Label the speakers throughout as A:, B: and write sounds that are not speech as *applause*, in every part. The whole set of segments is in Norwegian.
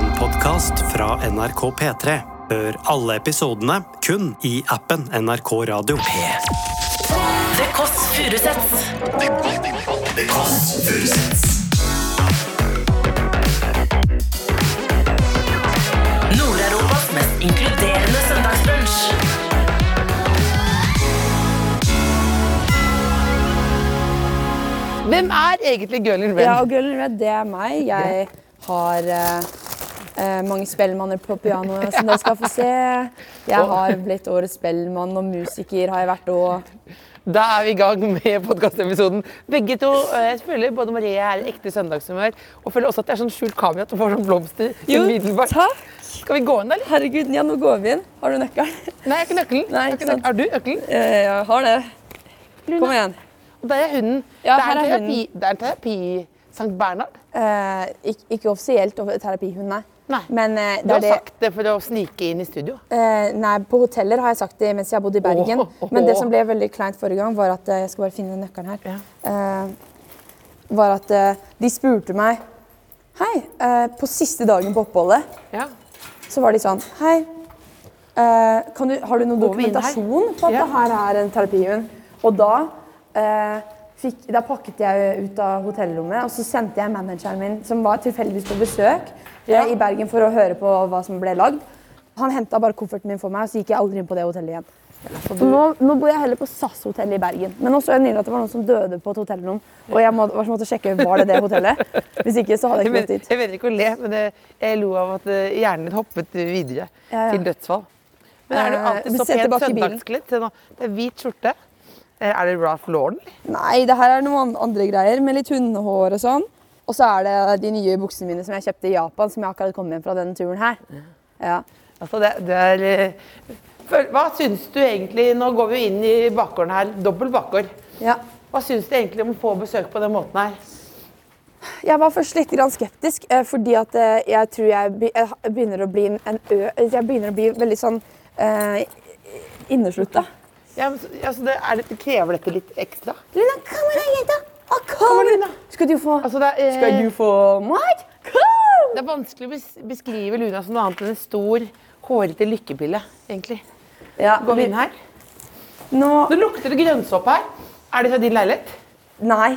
A: podkast fra NRK P3. Hør alle episodene kun i appen NRK Radio.
B: Det Kåss Furuseths. Nord-Europas mest inkluderende søndagsbrunsch.
C: Hvem er egentlig Gørlin Venn?
D: Ja, og Girl in Red, det er meg. Jeg har eh, eh, mange spellmanner på *laughs* pianoet som dere skal få se. Jeg har blitt årets spellmann og musiker har jeg vært òg.
C: Da er vi i gang med podkastepisoden. Begge to. eh, Jeg føler både Marie og jeg er i ekte søndagshumør. Og føler også at det er sånn skjult kamera at du får sånn blomster umiddelbart.
D: takk!
C: Skal vi gå inn, eller?
D: Herregud, ja, nå går vi inn. Har du nøkkelen?
C: Nei, jeg har ikke nøkkelen.
D: Nei,
C: Jeg har
D: ikke
C: nøkkelen.
D: sant.
C: Har du nøkkelen?
D: *laughs* Eh, jeg har det. Kom igjen.
C: Og der er hunden.
D: Ja,
C: det, er
D: her
C: en
D: er
C: terapi, det er en terapi Sankt Bernhard.
D: Eh, ikke, ikke offisielt over terapihund, nei.
C: Nei.
D: Men eh,
C: Du
D: det
C: har
D: er det
C: sagt det for å snike inn i studio.
D: Eh, nei, på hoteller har jeg sagt det mens jeg har bodd i Bergen.
C: Åh, åh,
D: Men det
C: åh.
D: som ble veldig kleint forrige gang, var at eh, jeg skal bare finne nøkkelen her.
C: Ja.
D: Eh, var at eh, de spurte meg Hei, eh, på siste dagen på oppholdet
C: Ja.
D: så var de sånn Hei, eh, kan du, har du noen
C: Går vi inn her?
D: dokumentasjon på at
C: Ja.
D: det her er en terapihund? Og da, eh, fikk, da pakket jeg ut av hotellrommet, og så sendte jeg manageren min, som var tilfeldigvis på besøk eh,
C: Ja.
D: i Bergen for å høre på hva som ble lagd. Han henta bare kofferten min for meg, og så gikk jeg aldri inn på det hotellet igjen. Så nå, nå bor jeg heller på SAS-hotellet i Bergen. Men nå så jeg nylig at det var noen som døde på et hotellrom. Og jeg må, var så måtte sjekke var det det hotellet. Hvis ikke, så hadde jeg
C: Jeg,
D: ikke
C: vet-
D: gått dit.
C: jeg vet ikke å le, men det, jeg lo av at eh, hjernen din hoppet videre
D: Ja, ja.
C: til dødsfall. Men er du
D: Eh,
C: alltid så
D: sett
C: pent
D: tilbake i bilen.
C: søndagskledd? Se nå, Det er hvit skjorte. Eh, Er det Ralph Lauren?
D: Nei, det her er noen an- andre greier med litt hundehår og sånn. Og så er det de nye buksene mine som jeg kjøpte i Japan, som jeg akkurat kom hjem fra denne turen her. Ja.
C: Altså, det, det er eh, føl- Hva syns du egentlig Nå går vi jo inn i bakgården her. Dobbel bakgård.
D: ja.
C: Hva syns du egentlig om å få besøk på den måten her?
D: Jeg var først litt grann skeptisk, eh, fordi at eh, jeg tror jeg be- jeg ha- begynner å bli en en ø... Jeg begynner å bli veldig sånn eh, inneslutta.
C: Ja, men, så- altså, det, er det, krever dette litt ekstra?
D: Lina, kom her, jenta! Å, kom!
C: Lina.
D: Skal du få
C: Altså, det, er, eh,
D: Skal du få mat? Kom!
C: det er vanskelig å bes- beskrive Luna som noe annet enn en stor, hårete lykkepille. egentlig.
D: Ja,
C: Går vi inn her?
D: Nå
C: Nå lukter det grønnsåpe her. Er det fra din leilighet?
D: Nei.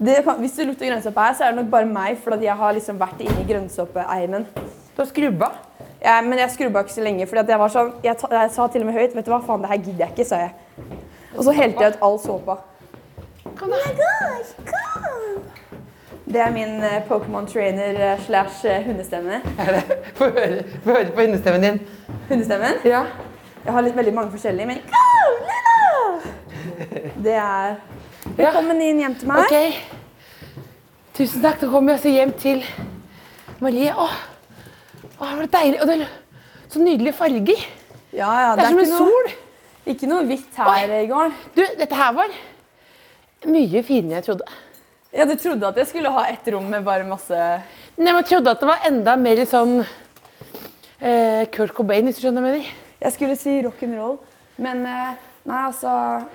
D: Det kan, hvis det lukter grønnsåpe her, så er det nok bare meg, for at jeg har liksom vært inne i grønnsåpeeimen.
C: Du har skrubba.
D: Jeg- Men jeg skrubba ikke så lenge, for jeg, var sånn, jeg, ta, jeg sa til og med høyt Vet du hva, faen, det her gidder jeg ikke, sa jeg. Og så helte jeg ut all såpa. Oh
C: Kom da.
D: Det er min eh, Pokémon trainer eh, slash eh, hundestemme.
C: Få høre, få høre på hundestemmen din.
D: Hundestemmen.
C: Ja.
D: Jeg har litt, veldig mange forskjellige, men Go, Lilla! Det er Velkommen inn hjem til meg.
C: Ok. Tusen takk. Da kommer vi altså hjem til Marie. Åh, Åh det var deilig. Og det er så nydelige farger.
D: Ja, ja,
C: Det er som en
D: ikke noe,
C: sol.
D: Ikke noe hvitt
C: Oi.
D: her i går.
C: Du, dette her var mye finere enn jeg trodde.
D: Ja, du trodde at jeg skulle ha ett rom med bare masse
C: Nei, men Jeg trodde at det var enda mer sånn eh, Kurt Cobain, hvis du skjønner hva jeg mener.
D: Jeg skulle si rock'n'roll, men eh, nei, altså,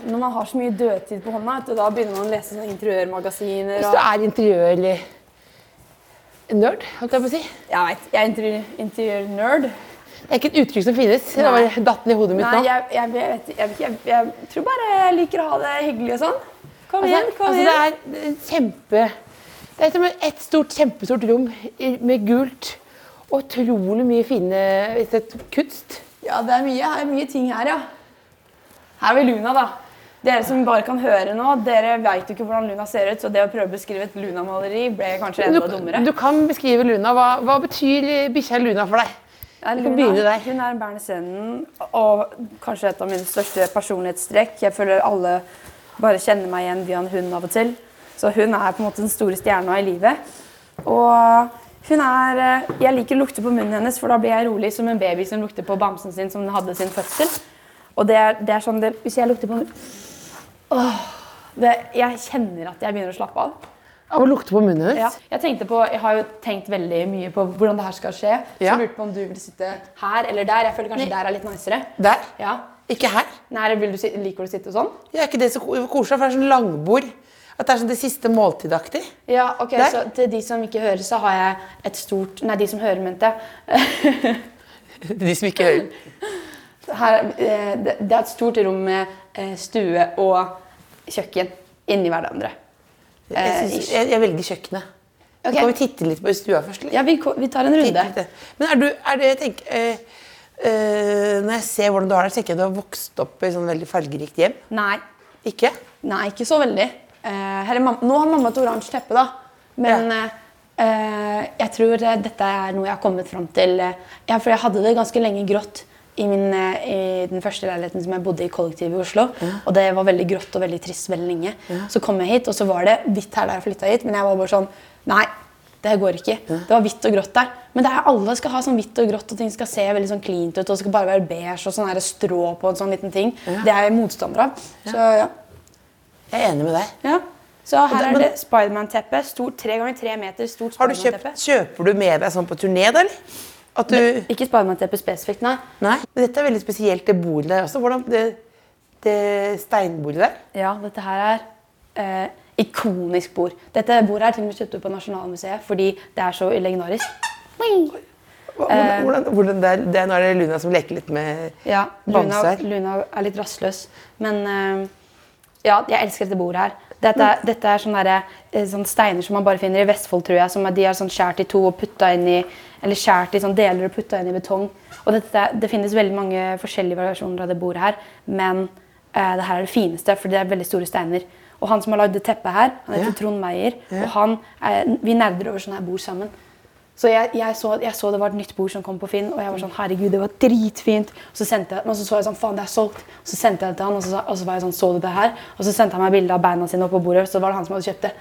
D: når man har så mye dødtid på hånda, vet du, da begynner man å lese sånne interiørmagasiner.
C: Hvis
D: Og,
C: du er interiør-nerd, holdt jeg på å si.
D: jeg vet, jeg er interiør- interiør-nerd.
C: Det er ikke et uttrykk som finnes. Det
D: Nei.
C: bare datt ned i hodet mitt
D: Nei,
C: nå.
D: jeg, jeg, vet- jeg, vet ikke, jeg, jeg tror bare jeg liker å ha det hyggelig og sånn. Kom
C: Altså,
D: igjen, kom
C: altså,
D: igjen.
C: det er en kjempe Det er som et stort, kjempestort rom i- med gult. og Utrolig mye fine hvis det er kunst.
D: Ja, det er mye, her- mye ting her, ja. Her ved Luna, da. Dere som bare kan høre nå, dere vet jo ikke hvordan Luna ser ut, så det å prøve å beskrive et Luna-maleri ble kanskje
C: Du,
D: enda dummere.
C: du kan beskrive Luna. Hva, hva betyr eh, bikkja Luna for deg?
D: Ja,
C: kan begynne der.
D: Hun er Bernesenden, og kanskje et av mine største personlighetstrekk. Jeg føler alle bare kjenner meg igjen via en hund av og til. Så hun er på en måte den store stjerna i livet. Og hun er eh, Jeg liker å lukte på munnen hennes, for da blir jeg rolig som en baby som lukter på bamsen sin som den hadde sin fødsel. Og det er, det er sånn det, Hvis jeg lukter på munnen Åh, det, Jeg kjenner at jeg begynner å slappe av.
C: Av å lukte på munnen hennes?
D: Ja. *laughs* Jeg, tenkte på, jeg har jo tenkt veldig mye på hvordan det her skal skje. Så
C: Ja.
D: jeg lurte på om du vil sitte her eller der. Jeg føler kanskje der er litt nicere.
C: Der?
D: Ja.
C: Ikke her?
D: Nei, vil du, si- liker du å sitte sånn?
C: Ja, er ikke det så ko- koselig? For det er sånn langbord. At det er sånn det siste måltidaktig.
D: Ja, ok,
C: Der.
D: så Til de som ikke hører, så har jeg et stort Nei, de som hører, mente jeg.
C: *laughs*
D: *laughs*
C: De som ikke hører.
D: Her, eh, det det er et stort rom med eh, stue og kjøkken inni hverandre.
C: Jeg,
D: Eh,
C: synes,
D: ish.
C: jeg, jeg velger kjøkkenet.
D: Ok.
C: Kan vi titte litt på stua først? eller?
D: Ja, vi, ko- vi tar en runde.
C: Titte litt. Men er du, er det, jeg tenker, eh, eh, Når jeg ser hvordan du har det, så tenker jeg at du har vokst opp i sånn veldig fargerikt hjem.
D: Nei,
C: Ikke?
D: nei, ikke så veldig. Eh, her er mam- Nå har mamma et oransje teppe, da. Men eh, eh, jeg tror eh, dette er noe jeg har kommet fram til. eh, Ja, for jeg hadde det ganske lenge grått i, min, eh, i den første leiligheten som jeg bodde i kollektivet i Oslo. Og det var veldig grått og veldig trist veldig lenge. Så kom jeg hit, og så var det hvitt her da jeg flytta hit, men jeg var bare sånn Nei, Det her går ikke. Det var hvitt og grått der. Men det er, alle skal ha sånn hvitt og grått, og ting skal se veldig sånn cleant ut. Og det skal bare være beige og sånn her strå på en sånn liten ting. Det er jeg motstander av. Så ja.
C: Jeg er enig med deg.
D: ja. Så her
C: det-
D: er
C: men-
D: det Spiderman-teppe. Stort tre ganger tre meter. stort
C: Har du kjøpt,
D: Spiderman-teppe.
C: kjøper du med deg sånn på turné, da? eller? At du...
D: Ikke Spiderman-teppe spesifikt, nei.
C: Nei, men dette er veldig spesielt, det bordet der også. Hvordan, det, det steinbordet der.
D: Ja, dette her er eh, ikonisk bord. Dette bordet her til og med kjøpt ut på Nasjonalmuseet fordi det er så legendarisk.
C: Hva- Hvordan, hvordan, hvordan det er, det er, nå er det Luna som leker litt med
D: Eh. Ja,
C: bamse
D: Luna,
C: her.
D: Luna er litt rastløs. Men eh, ja, jeg elsker dette bordet her. Dette, er- dette er sånne, derre, eh, sånne steiner som man bare finner i Vestfold, tror jeg. Som er, de er sånn skjært i to og putta inn i Eller skjært i sånn deler og putta inn i betong. Og dette, det finnes veldig mange forskjellige variasjoner av det bordet her, men eh, det her er det fineste, for det er veldig store steiner. Og han som har lagd det teppet her, han heter
C: Ja.
D: Trond Meyer, og han er, vi nerder over sånne her bord sammen. Så jeg, jeg, så, jeg så det var et nytt bord som kom på Finn, og jeg var sånn herregud, det var dritfint. Og så sendte jeg, men så så jeg sånn faen, det er solgt. Og så sendte jeg det til han, og så, sa- og så var jeg sånn, så du det her? Og så sendte han meg bilde av beina sine oppå bordet, så var det han som hadde kjøpt det.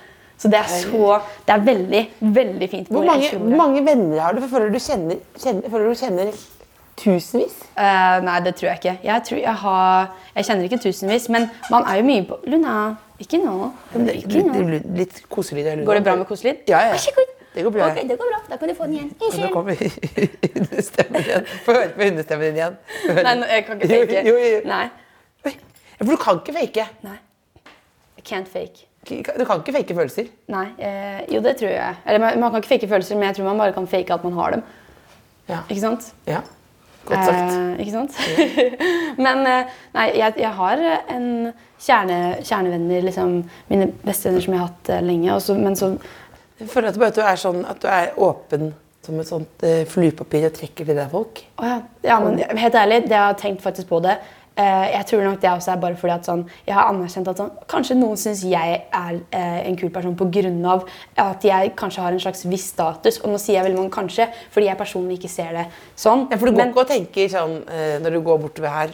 D: Så det er så Det er veldig, veldig fint.
C: Hvor
D: bord.
C: mange,
D: Jeg elsker
C: hvor
D: bordet.
C: mange venner har du? For føler du kjenner, kjenner, føler du kjenner tusenvis?
D: Eh, nei, det tror jeg ikke. Jeg, tror jeg, har, jeg kjenner ikke tusenvis, men man er jo mye på Luna, ikke nå.
C: Litt,
D: Ikke nå.
C: litt, litt koselyd av Luna.
D: Går det bra med koselyd?
C: Ja, ja.
D: Vær så god.
C: Det går bra.
D: Ok, det går bra. Da kan du få den igjen.
C: Og Nå
D: Unnskyld.
C: kommer *laughs* hundestemmen igjen. Få høre på hundestemmen din igjen. Få høre.
D: Nei, nå- jeg kan ikke
C: Jo,
D: fake.
C: jo, jo.
D: Nei.
C: Oi. Ja, For du kan ikke fake.
D: nei. I can't fake.
C: Du kan ikke fake følelser.
D: Nei, eh, jo det tror jeg. Eller man, man kan ikke fake følelser, men jeg tror man bare kan fake at man har dem.
C: Ja.
D: Ikke sant?
C: ja. Godt sagt.
D: Eh, ikke sant? *laughs* men eh, nei, jeg, jeg har en kjerne, kjernevenner, liksom mine bestevenner som jeg har hatt eh, lenge, og så- men så
C: Jeg føler at du, bare, at du er sånn at du er åpen som et sånt eh, fluepapir og trekker til deg folk.
D: Å ja. ja, men helt ærlig, det jeg har tenkt faktisk på det. Eh, jeg tror nok det også er bare fordi at sånn, jeg har anerkjent at sånn, kanskje noen syns jeg er eh, en kul person pga. at jeg kanskje har en slags viss status. Og nå sier jeg veldig mange kanskje, fordi jeg personlig ikke ser det sånn.
C: Ja, for du går
D: Men-
C: ikke og tenker sånn eh, Når du går bortover her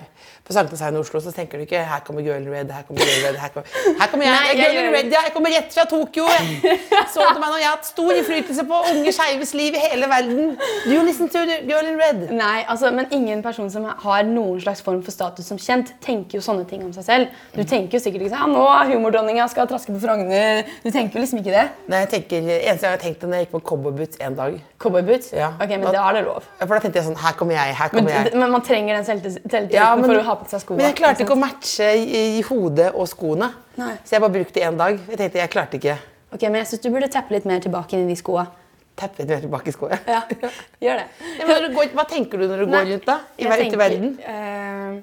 C: på Sankthanshaugen i Oslo, så tenker du ikke 'her kommer girl in red', 'her kommer girl in red', 'her kommer, her kommer jeg'.
D: Nei,
C: jeg,
D: jeg
C: er girl
D: gjør
C: in
D: det.
C: red, ja, jeg kommer rett fra Tokyo.
D: *laughs*
C: jeg. Så du meg nå? Jeg har hatt stor innflytelse på unge skeives liv i hele verden. Do you listen to the girl in red?
D: Nei, altså, men ingen person som har noen slags form for status som kjent, tenker jo sånne ting om seg selv. Du tenker jo sikkert ikke sånn, ja, nå er humordronninga, skal traske på Frogner. Du tenker jo liksom ikke det.
C: Nei, jeg tenker, eneste gang jeg tenkte når jeg gikk på cowboyboots en dag.
D: Cowboyboots?
C: Ja.
D: Ok, men da er det lov.
C: Ja, For da tenkte jeg sånn 'her kommer jeg', her
D: Men,
C: kommer jeg'.
D: men man trenger den selvtillit- selvtilliten
C: Ja, men-
D: for å ha på seg liksom. skoene.
C: Men jeg klarte ikke å matche i, i hodet og skoene.
D: Nei.
C: Så jeg bare brukte én dag. Jeg tenkte jeg klarte ikke
D: Ok, men jeg synes du burde tappe litt mer tilbake inn i de skoene.
C: teppe mer tilbake i skoene.
D: Ja, *laughs*
C: *laughs*
D: gjør det.
C: Ja, men når du går, hva tenker du når du går
D: Nei,
C: rundt da? I,
D: jeg
C: ver- ute i
D: tenker,
C: verden?
D: eh,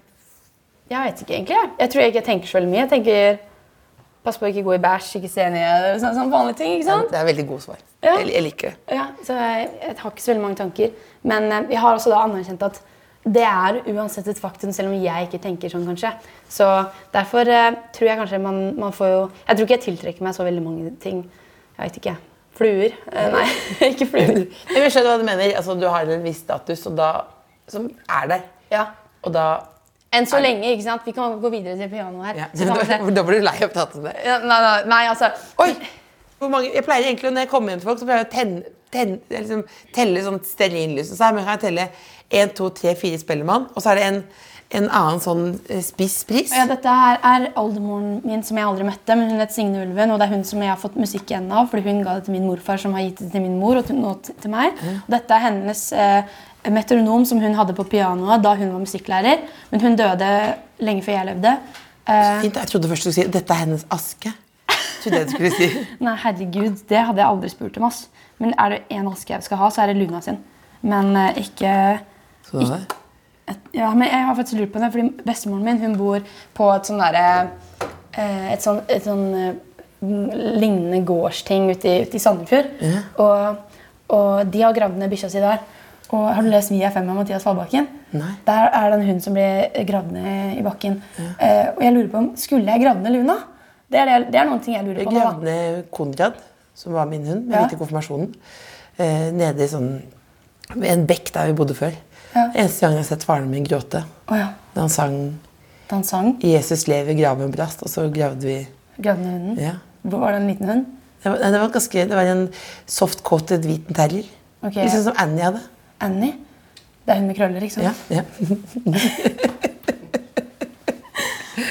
D: jeg vet ikke egentlig. Jeg, jeg tror ikke jeg tenker så veldig mye. Jeg tenker pass på å ikke gå i bæsj, ikke se ned, sånne, sånne vanlige ting. ikke sant?
C: Det er veldig gode svar.
D: Ja.
C: Jeg, jeg liker det.
D: Ja, så jeg, jeg har ikke så veldig mange tanker. Men eh, jeg har også da anerkjent at det er uansett et faktum, selv om jeg ikke tenker sånn, kanskje. Så derfor eh, tror jeg kanskje man, man får jo Jeg tror ikke jeg tiltrekker meg så veldig mange ting. Jeg vet ikke. Fluer? Eh, nei, *laughs* ikke fluer.
C: Men jeg skjønner hva du mener. Altså, du har en viss status og da, som er der.
D: Ja.
C: Og da
D: Enn så lenge, ikke sant? Vi kan gå videre til pianoet her.
C: ja.
D: Så kan vi se.
C: *laughs* Da blir du lei av å prate om det.
D: Ja, Nei, nei, nei, altså
C: Oi! Hvor mange, jeg pleier egentlig, Når jeg kommer hjem til folk, så pleier jeg å tenne, tenne, jeg liksom, telle sånn stearinlys. og Så her, men jeg kan telle én, to, tre, fire Spellemann. Og så er det en, en annen sånn eh, spiss pris.
D: Ja, dette her er oldemoren min som jeg aldri møtte, men hun het Signe Ulven, og det er hun som jeg har fått musikk igjen av, fordi hun ga det til min morfar, som har gitt det til min mor, og til, nå til til meg. Og dette er hennes eh, metronom som hun hadde på pianoet da hun var musikklærer, men hun døde lenge før jeg levde. Eh,
C: Fint, Jeg trodde først du skulle si dette er hennes aske. trodde jeg du skulle
D: *laughs*
C: si.
D: Nei, herregud, det hadde jeg aldri spurt om. ass. Men er det en aske jeg skal ha, så er det Luna sin. Men eh, ikke
C: Skal du ha det?
D: Ja, men jeg har faktisk lurt på det, fordi bestemoren min hun bor på et sånn derre eh, Et sånn, et sånn eh, lignende gårdsting ute i, ute i Sandefjord. Og, og de har gravd ned bikkja si der. Og Har du lest Vi er fem av Mathias Fallbakken?
C: Nei.
D: Der er det en hund som blir gravd ned i bakken. Eh, og jeg lurer på om Skulle jeg gravd ned Luna? Det er, det, det er noen ting jeg lurer
C: Jeg
D: på. nå, da.
C: gravde ned Konrad, som var min hund, med
D: Ja.
C: etter konfirmasjonen. Eh, nede i sånn ved en bekk der vi bodde før.
D: Ja.
C: Eneste gang jeg har sett faren min gråte.
D: Å ja.
C: Da han sang
D: Da han sang,
C: 'Jesus lever, graven brast', og så gravde vi
D: gravde ned hunden.
C: ja.
D: Var det en liten hund?
C: det, var, nei, det var ganske Det var en soft-coated hvit terrier.
D: Ok.
C: Litt sånn som Annie hadde.
D: Annie? Det er hun med krøller, ikke sant?
C: Ja, ja.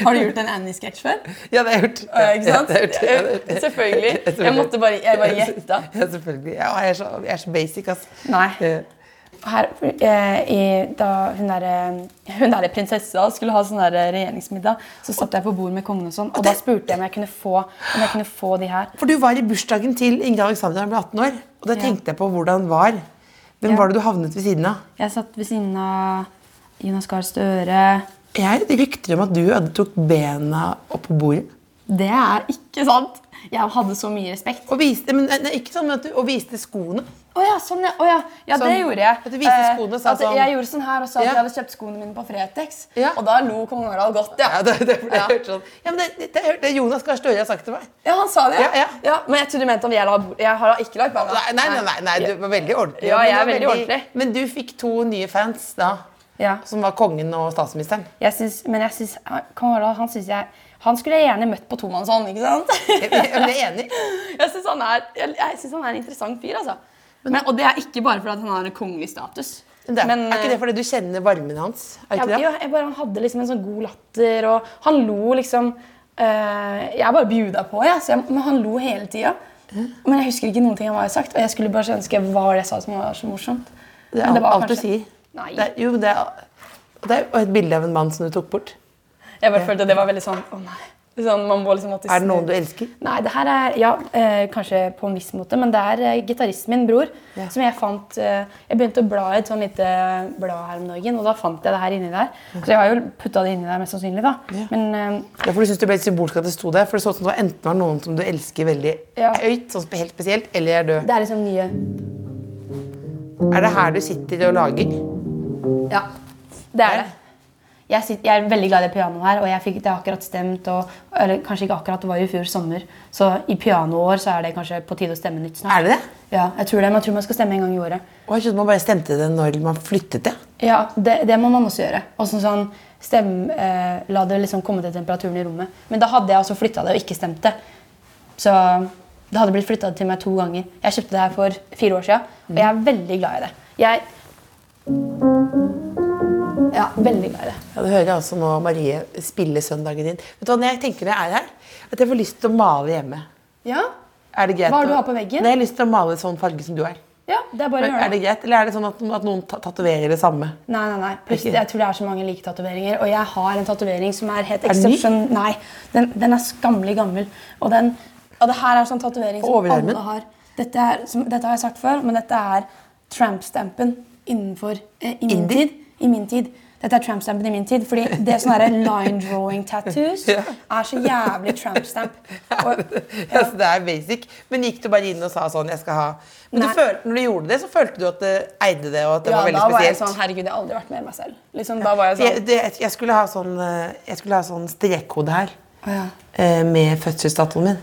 D: Har du gjort en Annie-sketsj før?
C: ja, det har jeg gjort.
D: Ja, ikke sant?
C: Ja, det har jeg gjort. *laughs* Ja, det har jeg gjort.
D: *laughs* Selvfølgelig. Jeg måtte bare, jeg bare gjetta.
C: Ja, selvfølgelig. Ja, jeg, er så, jeg er så basic, ass.
D: Nei.
C: Eh,
D: Her, eh, i, da hun der, eh, hun der prinsessa skulle ha sånn der regjeringsmiddag, så satt jeg på bord med kongen og sånn, og da spurte jeg om jeg kunne få, om jeg kunne få de her.
C: For du var i bursdagen til Ingrid Alexander da hun ble 18 år. Og da
D: Ja.
C: tenkte jeg på hvordan var. Hvem
D: Ja.
C: var det du havnet ved siden av?
D: Jeg satt ved siden av Jonas Gahr Støre.
C: Jeg har et rykte om at du tok bena opp på bordet.
D: Det er ikke sant. Jeg hadde så mye respekt.
C: Og viste, men, nei, ikke sånn, men at du, og viste skoene.
D: Å ja, sånn, ja. Å ja. ja
C: Sånn.
D: det gjorde jeg.
C: At du viste
D: Eh,
C: skoene og sa
D: at
C: sånn.
D: Jeg gjorde sånn her og sa at
C: Ja.
D: jeg hadde kjøpt skoene mine på Fretex.
C: Ja.
D: Og da lo kong Harald godt, ja.
C: Ja, *laughs* det, det, det,
D: Ja.
C: hørte sånn. ja, men det, det, det, det Jonas Gahr Støre har sagt til meg.
D: Ja, han sa det.
C: Ja, ja.
D: men jeg trodde du mente om jeg la bord. Jeg har da ikke lagt beina.
C: Nei, nei, nei, nei, nei du var veldig ordentlig.
D: Ja,
C: Men
D: jeg er
C: du var
D: veldig ordentlig.
C: Men du fikk to nye fans da,
D: Ja.
C: som var kongen og statsministeren.
D: Jeg syns- men jeg ah, syns Kong Harald han synes jeg Han skulle jeg gjerne møtt på tomannshånd, ikke
C: *laughs*
D: sant?
C: Jeg ble enig.
D: Jeg syns han, er- jeg, jeg synes han er en interessant fyr, altså. Men, og det er ikke bare fordi at han har en kongelig status.
C: Men Det,
D: Men,
C: er ikke det fordi du kjenner varmen hans? Er
D: Ja,
C: ikke det?
D: ja, jeg bare, han hadde liksom en sånn god latter, og han lo liksom eh, Jeg bare bjuda på, jeg, så jeg, men han lo hele tida. Men jeg husker ikke noen ting han har sagt, og jeg skulle bare så ønske hva var det jeg sa som var så morsomt.
C: Det
D: Men
C: er
D: var
C: alt du
D: kanskje-
C: sier.
D: Nei.
C: Det er, jo, men det er, det er jo et bilde av en mann som du tok bort.
D: Jeg bare følte det var veldig sånn Å nei. Sånn, man må liksom alltid
C: Er det noen du elsker?
D: Nei, det her er ja, eh, kanskje på en viss måte, men det er eh, gitaristen min, bror,
C: Ja.
D: som jeg fant eh, Jeg begynte å bla i et sånn lite blad her om dagen, og da fant jeg det her inni der. Så jeg har jo putta det inni der mest sannsynlig, da.
C: Ja.
D: Men eh,
C: Ja, for Du syns det ble litt symbolsk at det sto der? For det så ut som det var enten var noen som du elsker veldig
D: Ja.
C: høyt, sånn spe- helt spesielt, eller er død.
D: det er liksom nye
C: Er det her du sitter og lager?
D: Ja, det er
C: Ja.
D: det. Jeg, sitter, jeg er veldig glad i det pianoet her, og jeg fikk det har akkurat stemt. Og, eller kanskje ikke akkurat, det var jo i fjor sommer. Så i pianoår så er det kanskje på tide å stemme nytt snart.
C: Er det det?
D: Ja, jeg tror det, men jeg tror man skal stemme en gang i året.
C: Og jeg trodde man bare stemte det når man flyttet det.
D: Ja, det, det må man også gjøre. Og sånn, sånn stem, eh, La det liksom komme til temperaturen i rommet. Men da hadde jeg altså flytta det og ikke stemt det. Så det hadde blitt flytta til meg to ganger. Jeg kjøpte det her for fire år siden,
C: Mm.
D: og jeg er veldig glad i det. Jeg Ja, veldig glad i det.
C: Ja, Det hører jeg også nå Marie spille søndagen din. Vet du hva, når jeg tenker når jeg er her, at jeg får lyst til å male hjemme.
D: Ja,
C: Er det greit?
D: Hva har du
C: å-
D: har på veggen?
C: Nei, jeg har lyst til å male i sånn farge som du er.
D: Ja, det er bare å
C: Men
D: gjøre
C: er det greit, eller er det sånn at, at noen ta- tatoverer det samme?
D: Nei, nei, nei. Pluss,
C: Ikke?
D: jeg tror det er så mange like tatoveringer. Og jeg har en tatovering som er helt
C: Er den ny?
D: exception... Nei, den, den er skammelig gammel. Og den Og det her er sånn tatovering som
C: overarmen?
D: alle har. Dette, er, som, dette har jeg sagt før, men dette er tramp-stampen innenfor eh, i, min
C: Indie?
D: tid, I min tid. Dette er tramp-stampen i min tid. Fordi det sånne her line drawing
C: *laughs*
D: tattoos
C: Ja.
D: er så jævlig tramp-stamp.
C: *laughs* Ja, så det er basic. Men gikk du bare inn og sa sånn jeg skal ha Men du
D: Nei.
C: følte, når du gjorde det, så følte du at det eide det, og at det
D: Ja,
C: var
D: da
C: veldig
D: var jeg
C: spesielt.
D: sånn Herregud, jeg har aldri vært mer meg selv. Liksom, da var jeg
C: jeg,
D: sånn
C: det, jeg skulle ha sånn, eh, jeg skulle ha sånn strekkode her
D: Å ja.
C: eh, med fødselsdatoen min.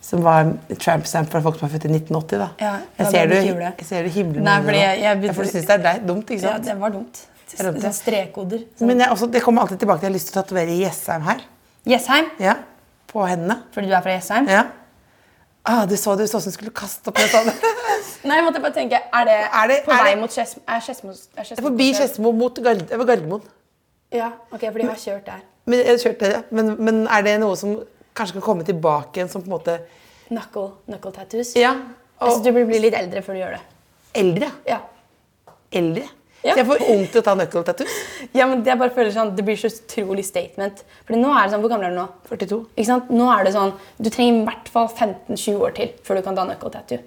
C: Som var tramp stamp fra folk som var født i 1980. da.
D: Ja, da
C: jeg, ser
D: ble
C: du,
D: det ikke jule.
C: jeg ser du himler
D: Nei,
C: med
D: fordi
C: det nå.
D: jeg- jeg begynte-
C: ja, for du syns det er deg, dumt, ikke
D: Ja,
C: sant?
D: det var dumt.
C: er dumt, ja.
D: Sånn strekkoder.
C: Men jeg, også, det kommer alltid tilbake til jeg har lyst til å tatovere Jessheim her.
D: Jessheim,
C: Ja, På hendene.
D: fordi du er fra Jessheim.
C: Ja. Ah, du så det ut som du skulle kaste opp en sånn. *laughs*
D: Nei, jeg måtte bare tenke, er det,
C: Er det-
D: på
C: er
D: vei
C: det-
D: mot Skedsmo? Er Skedsmo er Skedsmo-
C: Forbi Skedsmo mot Gard over Gardermoen.
D: Ja, ok, for de har kjørt der.
C: Men, jeg kjørte, det, men, men er det noe som kanskje kan komme tilbake igjen som på en måte
D: Knuckle, knuckle tattoos.
C: Ja.
D: Jeg synes
C: Og
D: du burde bli litt eldre før du gjør det.
C: eldre.
D: Ja.
C: Eldre. Så jeg får vondt til å ta nøkkeltattoos.
D: Ja, men jeg bare føler sånn, Det blir så utrolig statement. Fordi nå er det sånn, Hvor gammel er du nå?
C: 42.
D: Ikke sant? Nå er det sånn, Du trenger i hvert fall 15-20 år til før du kan ta nøkkeltattoo.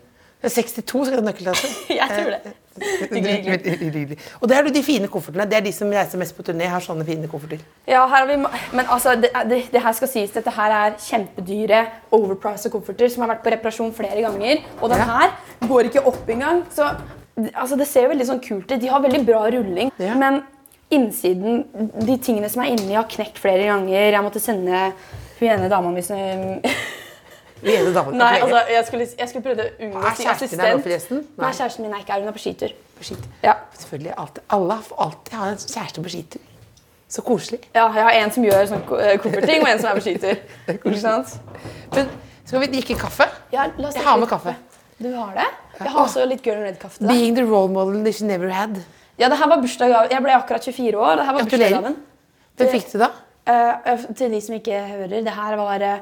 C: Jeg er 62 skal jeg ha nøkkeltattoo.
D: *laughs* Jeg tror
C: Eh,
D: det. Hyggelig, hyggelig.
C: Veldig hyggelig. Og det er jo de fine koffertene. Det er de som reiser mest på turné, har sånne fine kofferter.
E: Ja, her har vi, ma- men altså, det, er- det, det her skal sies, dette her er kjempedyre overpriced kofferter som har vært på reparasjon flere ganger. Og den
C: Ja.
E: her går ikke opp engang. Så det- altså, det ser jo veldig sånn kult ut. De har veldig bra rulling,
C: Ja.
E: men innsiden, de tingene som er inni, har knekt flere ganger. Jeg måtte sende hun ene dama mi som
C: Vi ene damene
E: *laughs* Nei,
C: kan
E: altså,
C: klage.
E: jeg skulle, jeg skulle prøvde å unngå
C: Er
E: å
C: kjæresten
E: si
C: din her nå,
E: assistent.
C: forresten? Nei.
E: Nei, kjæresten min er ikke her. Hun er på skitur.
C: På skitur.
E: Ja.
C: Selvfølgelig. Alltid. Alle får alltid ha en kjæreste på skitur. Så koselig.
E: ja, jeg har en som gjør sånn ko- eh, koffertting, og en som er på
C: *laughs*
E: skitur. Ikke sant?
C: Men skal vi drikke kaffe?
D: Ja, la oss
C: Jeg
D: drikke
C: har med
D: litt
C: kaffe.
D: Du har det? Jeg har også litt Girl and Red-kaffe. til deg.
C: Being the role model that she never had.
D: Ja, det her var bursdagsgave. Jeg ble akkurat 24 år. Det her var
C: Gratulerer.
D: bursdagsgaven.
C: Hvem fikk du da?
D: Eh, til de som ikke hører, det her var eh,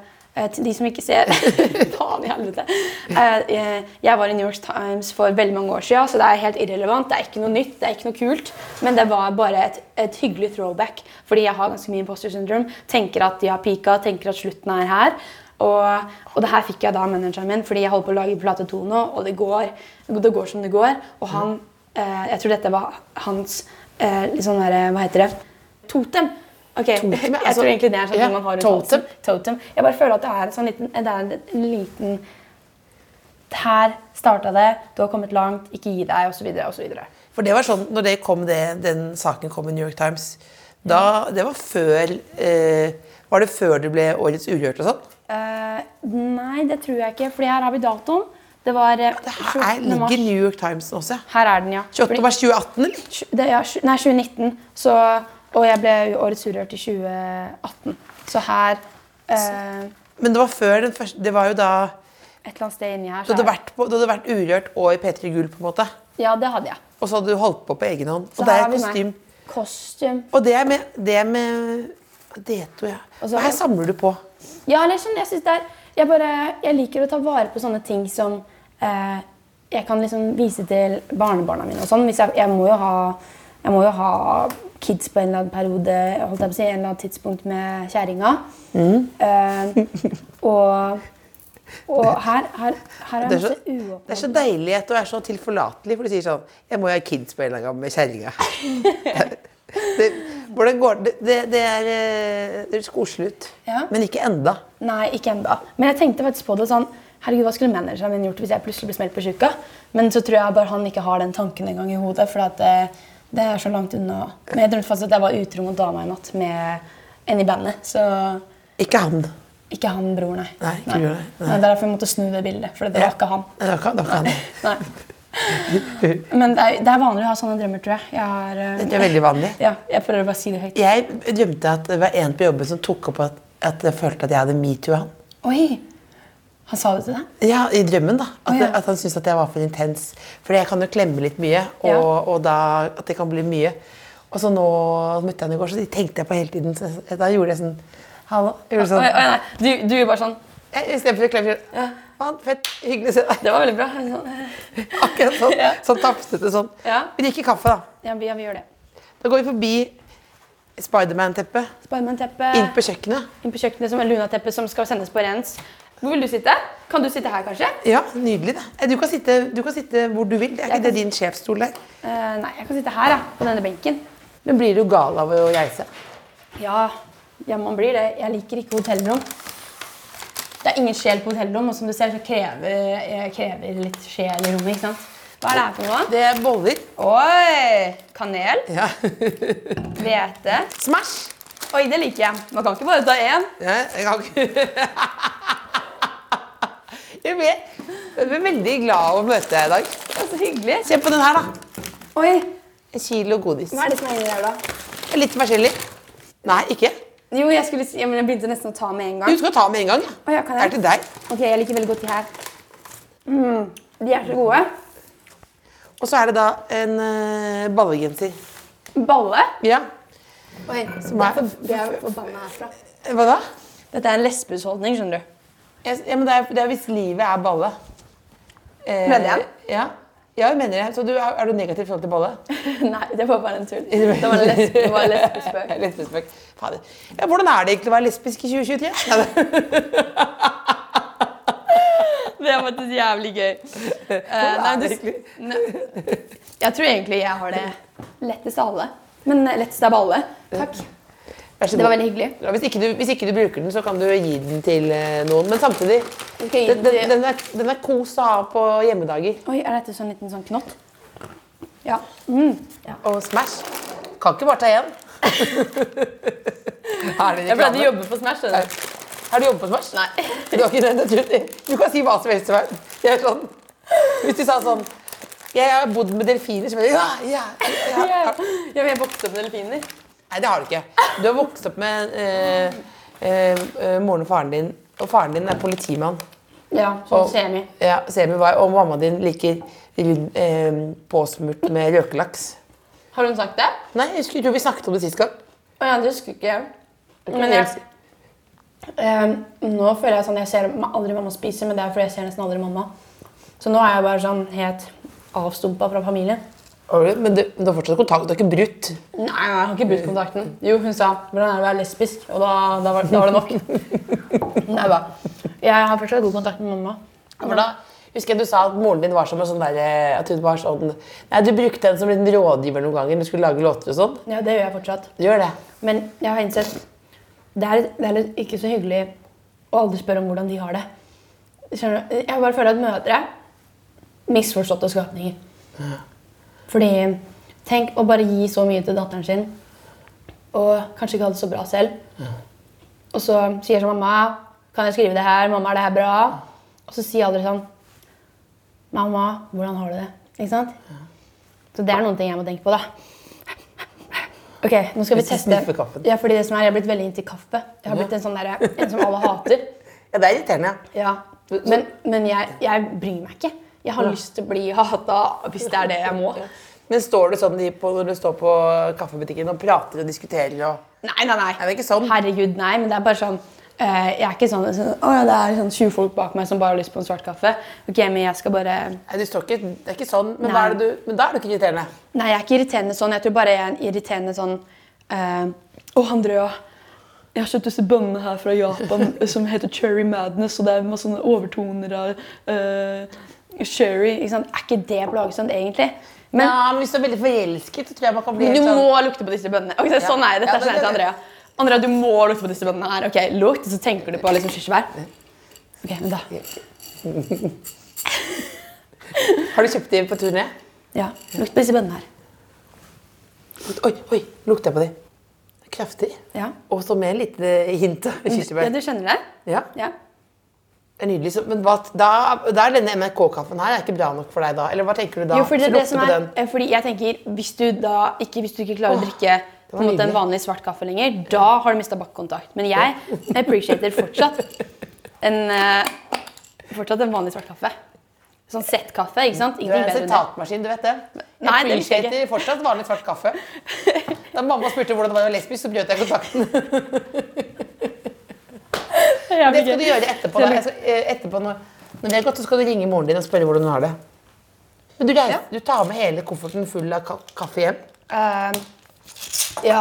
D: Til de som ikke ser *laughs* Faen i helvete. Eh, eh, jeg var i New York Times for veldig mange år siden, så det er helt irrelevant. Det er ikke noe nytt, det er ikke noe kult. Men det var bare et, et hyggelig throwback. Fordi jeg har ganske mye imposter syndrome. Tenker at de har pika, tenker at slutten er her. Og, og det her fikk jeg da av manageren min, fordi jeg holder på å lage plate to nå, og det går, det går som det går. Og han eh, Jeg tror dette var hans eh, litt sånn derre Hva heter det? Totem. Ok,
C: Totem, ja,
D: jeg
C: altså-
D: tror egentlig det er sånn
C: ja,
D: ting man har rundt
C: totem.
D: halsen. Totem. Jeg bare føler at det er en sånn liten, det er en liten Her starta det, du har kommet langt, ikke gi deg, osv. osv.
C: For det var sånn, når det kom det, den saken kom i New York Times da, Det var før eh, Var det før det ble Årets Urørt og sånn?
D: Uh, nei, det tror jeg ikke, Fordi her har vi datoen. Det var eh,
C: Det her
D: 14.
C: er, ligger
D: mars.
C: New York Times også, ja.
D: Her er den, ja.
C: 28. mars 2018, eller?
D: Fordi- det, ja, sju- nei, 2019. Så, og jeg ble Årets Urørt i 2018. Så her eh,
C: Men det var før den første Det var jo da
D: Et eller annet sted inni her.
C: Du
D: så
C: hadde
D: er-
C: vært, på, du hadde vært Urørt og i P3 Gull, på en måte.
D: Ja, det hadde jeg.
C: Og så hadde du holdt på på egen hånd.
D: Så
C: Og det
D: her
C: er
D: har vi meg.
C: kostym.
D: Kostym.
C: Og det er med Det er med Deto, ja.
D: Og så-
C: Hva her samler du på?
D: Ja, eller sånn, jeg synes det er jeg, bare, jeg liker å ta vare på sånne ting som eh, jeg kan liksom vise til barnebarna mine og sånn. Hvis jeg, jeg, må jo ha, jeg må jo ha kids på en eller annen periode, holdt jeg på å si, en eller annen tidspunkt med kjæringa.
C: Mm.
D: Eh, og og her, her, her er
C: Det er,
D: masse
C: så, det er så
D: uåpna
C: deilig at du er så tilforlatelig, for du sier sånn Jeg må jo ha kids på en eller annen gang med *laughs* kjerringa. Det- Hvordan går det Det, det er eh, Det høres koselig ut,
D: Ja.
C: men ikke enda.
D: Nei, ikke ennå. Men jeg tenkte faktisk på det sånn Herregud, hva skulle manageren min gjort hvis jeg plutselig ble smelt på tjukka? Men så tror jeg bare han ikke har den tanken engang i hodet, for at det, det er så langt unna. Men jeg drømte faktisk at jeg var utro mot dama i natt med en i bandet, så
C: Ikke han.
D: ikke han bror, nei.
C: Nei, ikke bror, nei. Nei.
D: Nei, Det er derfor jeg måtte snu det bildet, for det var ikke han.
C: Nei, det var ikke, det var ikke han.
D: Nei. Men det er, det er vanlig å ha sånne drømmer, tror jeg. jeg har, eh,
C: Det er veldig vanlig.
D: Ja, jeg prøver å bare si det høyt.
C: Jeg drømte at det var en på jobben som tok opp at, at jeg følte at jeg hadde metoo-han.
D: Oi! Han sa det til deg?
C: Ja, i drømmen, da. At,
D: Å, ja.
C: at han syntes at jeg var for intens. For jeg kan jo klemme litt mye, og,
D: Ja.
C: og da, at det kan bli mye. Og så nå møtte jeg henne i går, så tenkte jeg på hele tiden. Så jeg- da gjorde jeg sånn Hallo. Gjorde
D: Oi, oi,
C: sånn.
D: nei. Du, du bare sånn
C: I stedet for å klemme sånn. Faen, fett. Hyggelig å se deg. *laughs*
D: Det var veldig bra. Sånn.
C: Akkurat sånn.
D: Ja.
C: Sånn tapsete sånn.
D: Ja.
C: Vi drikker kaffe, da.
D: Ja, vi, ja, vi gjør det.
C: Da går vi forbi Spiderman-teppet.
D: Sparmanteppe.
C: Inn på kjøkkenet.
D: Inn på kjøkkenet som er lunateppe som skal sendes på rens. Hvor vil du sitte? Kan du sitte her, kanskje?
C: Ja, nydelig, det. Eh, Du kan sitte, du kan sitte hvor du vil. Det er
D: Jeg
C: ikke
D: kan
C: det din sjefsstol der.
D: Eh, nei, jeg kan sitte her, ja. På denne benken.
C: Men blir du gal av å reise?
D: Ja, ja, man blir det. Jeg liker ikke hotellrom. Det er ingen sjel på hotellrom, og som du ser, så krever, jeg krever litt sjel i rommet. ikke sant? Hva er det her for noe?
C: Det er boller.
D: Oi! Kanel.
C: Ja. *laughs*
D: Hvete.
C: Smash!
D: Oi, det liker jeg. Man kan ikke bare ta én.
C: Nei, jeg kan ikke *laughs* Jeg ble, jeg ble veldig glad å møte deg i dag.
D: Det er så hyggelig.
C: Se på den her, da.
D: Oi,
C: En kilo godis.
D: hva er det som er inni der, da?
C: Litt persille. Nei, ikke.
D: Jo, jeg, skulle, si- ja, men jeg begynte nesten å ta med en gang.
C: Du skal ta med en gang.
D: Å, ja, kan
C: Det
D: jeg?
C: er til deg.
D: Ok, jeg liker veldig godt de her. Mm, de er så gode.
C: Og så er det da en eh, ballegenser.
D: Balle.
C: Ja.
D: Oi,
C: Som er-
D: det er forbanna herfra.
C: Hva da?
D: Dette er en lesbesholdning, skjønner du.
C: Jeg- Ja, men det er, det er hvis livet er balle. Eh,
D: Prøvde jeg den?
C: Ja. Ja, jeg mener det. Så du, er, er du negativ i forhold til bolle?
D: *laughs*
C: *laughs*
D: Nei, det var bare en tull. Det var en lesb- det var en *laughs* lesbespøk.
C: Lesbespøk. Fader. Ja, hvordan er det egentlig å være lesbisk i 2023?
D: Det var faktisk jævlig gøy. Eh, nei,
C: er det
D: du, nei. Jeg tror egentlig jeg har det lettest av alle. Men eh, lettest av alle. Takk.
C: Vær så
D: Det
C: god.
D: var veldig hyggelig.
C: Ja, hvis, ikke du, hvis ikke du bruker den, så kan du gi den til eh, noen. Men samtidig,
D: Ok,
C: den, den,
D: det-
C: den, er, den er kos å ha på hjemmedager.
D: Oi, er dette sånn liten sånn knott? Ja.
C: Og Smash. Kan ikke bare ta én. er det reklame?
D: jobbe på Smash. skjønner du.
C: Har du jobbet på Smash?
D: Nei.
C: Du, har
D: *laughs*
C: ikke det, naturlig. du kan si hva som helst til meg. Jeg er sånn, hvis du sa sånn Jeg har bodd med delfiner. Så ville jeg, ja, ja, ja, ja.
D: Jeg vil vokse opp med delfiner.
C: Nei, det har du ikke. Du har vokst opp med eh, eh, eh, moren og faren din, og faren din er politimann.
D: Ja,
C: Og,
D: sånn semi.
C: Ja, semi var, og mamma din liker rund- eh, påsmurt med røkelaks.
D: Har hun sagt det?
C: Nei, jeg husker, jeg tror vi snakket om det sist gang.
D: Å ja, det husker ikke jeg. Men jeg, eh, nå føler jeg sånn Jeg ser ma- aldri mamma spise, men det er fordi jeg ser nesten aldri mamma. Så nå er jeg bare sånn helt avstumpa fra familien.
C: Har du- Men du, men du har fortsatt kontakt, du har ikke brutt.
D: Nei, nei, jeg har ikke brutt kontakten. Jo, hun sa 'hvordan er det å være lesbisk?' Og da, da, var, da var det nok. *laughs* Nei, da. Jeg har fortsatt god kontakt med mamma.
C: For da husker jeg du sa at moren din var som en sånn der, eh, at hun var sånn Nei, du brukte henne som en rådgiver noen ganger når du skulle lage låter og sånn.
D: Ja, det gjør jeg fortsatt.
C: Du gjør det.
D: Men jeg har innsett det er, det er litt ikke så hyggelig å aldri spørre om hvordan de har det. Skjønner du? Jeg bare føler at mødre er misforståtte skapninger. Fordi Tenk å bare gi så mye til datteren sin, og kanskje ikke ha det så bra selv. Og så sier jeg sånn Mamma, kan jeg skrive det her? Mamma, er det her bra? Og så sier jeg aldri sånn Mamma, hvordan har du det? Ikke sant? Så det er noen ting jeg må tenke på, da. Ok, nå skal vi
C: Hvis du
D: teste.
C: sniffer kaffen.
D: Ja, fordi det som er, Jeg er blitt veldig inntil kaffe. Jeg har blitt en sånn der, en som alle hater.
C: Ja, det er irriterende. ja.
D: Ja. Men, men jeg, jeg bryr meg ikke. Jeg har lyst til å bli hata hvis det er det jeg må.
C: Men står du sånn i på, når du står på kaffebutikken og prater og diskuterer og
D: Nei, nei, nei.
C: Er det ikke sånn?
D: Herregud, nei. Men det er bare sånn eh, Jeg er ikke sånn, sånn Å ja, det er sånn 20 folk bak meg som bare har lyst på en svart kaffe. Ok, men jeg skal bare
C: Nei, du står ikke Det er ikke sånn, men,
D: Nei.
C: da er, det du, men da er du ikke irriterende.
D: Nei, jeg er ikke irriterende sånn. Jeg tror bare jeg er en irriterende sånn eh, Å, Andrea. Jeg har kjøpt disse bønnene her fra
C: *laughs*
D: Japan som heter Cherry Madness, og det er masse sånne overtoner av eh, sherry. Ikke sant? Er ikke det plagsomt, egentlig? Men
C: ja, men hvis du er veldig forelsket, så tror jeg man kan bli
D: Men
C: helt
D: du
C: sånn
D: må lukte på disse bønnene. Ok,
C: Ja.
D: Sånn er det. Dette
C: Ja,
D: er sånn
C: det-
D: til Andrea. Andrea, du må lukte på disse bønnene her. Ok, Lukt, så tenker du på liksom kirsebær. Ok, men da.
C: Har du kjøpt de på turné?
D: Ja, Lukt på disse bønnene her.
C: Oi, oi, lukter jeg på de. Kraftig.
D: Ja.
C: Og så med et lite hint av
D: ja,
C: kirsebær.
D: Du skjønner det?
C: Ja,
D: Ja.
C: det er nydelig. Så- Men hva, da, da er denne NRK-kaffen her er ikke bra nok for deg da? Eller hva tenker du da?
D: Jo, fordi det
C: Så lukter
D: er det som
C: på
D: er,
C: den.
D: eh, fordi jeg tenker, Hvis du da ikke, hvis du ikke klarer å
C: Åh,
D: drikke på
C: var
D: en måte en
C: nydelig.
D: vanlig svart kaffe lenger, da har du mista bakkekontakt. Men jeg
C: *laughs*
D: appreciater fortsatt en, eh, fortsatt en vanlig svart kaffe. Sånn Z-kaffe. ikke sant?
C: Du er en
D: Ingenting bedre enn det.
C: sitatmaskin, du vet det.
D: Nei, det
C: jeg
D: visste jeg
C: appreciater fortsatt vanlig svart kaffe.
D: *laughs*
C: Da mamma spurte hvordan det var å være lesbisk, så brøt jeg kontakten. Det skal du gjøre etterpå. Da. Altså, eh, etterpå når, når vi har gått, så skal du ringe moren din og spørre hvordan hun har det. Men du, reiser, du tar med hele kofferten full av ka kaffe hjem.
D: Eh, ja.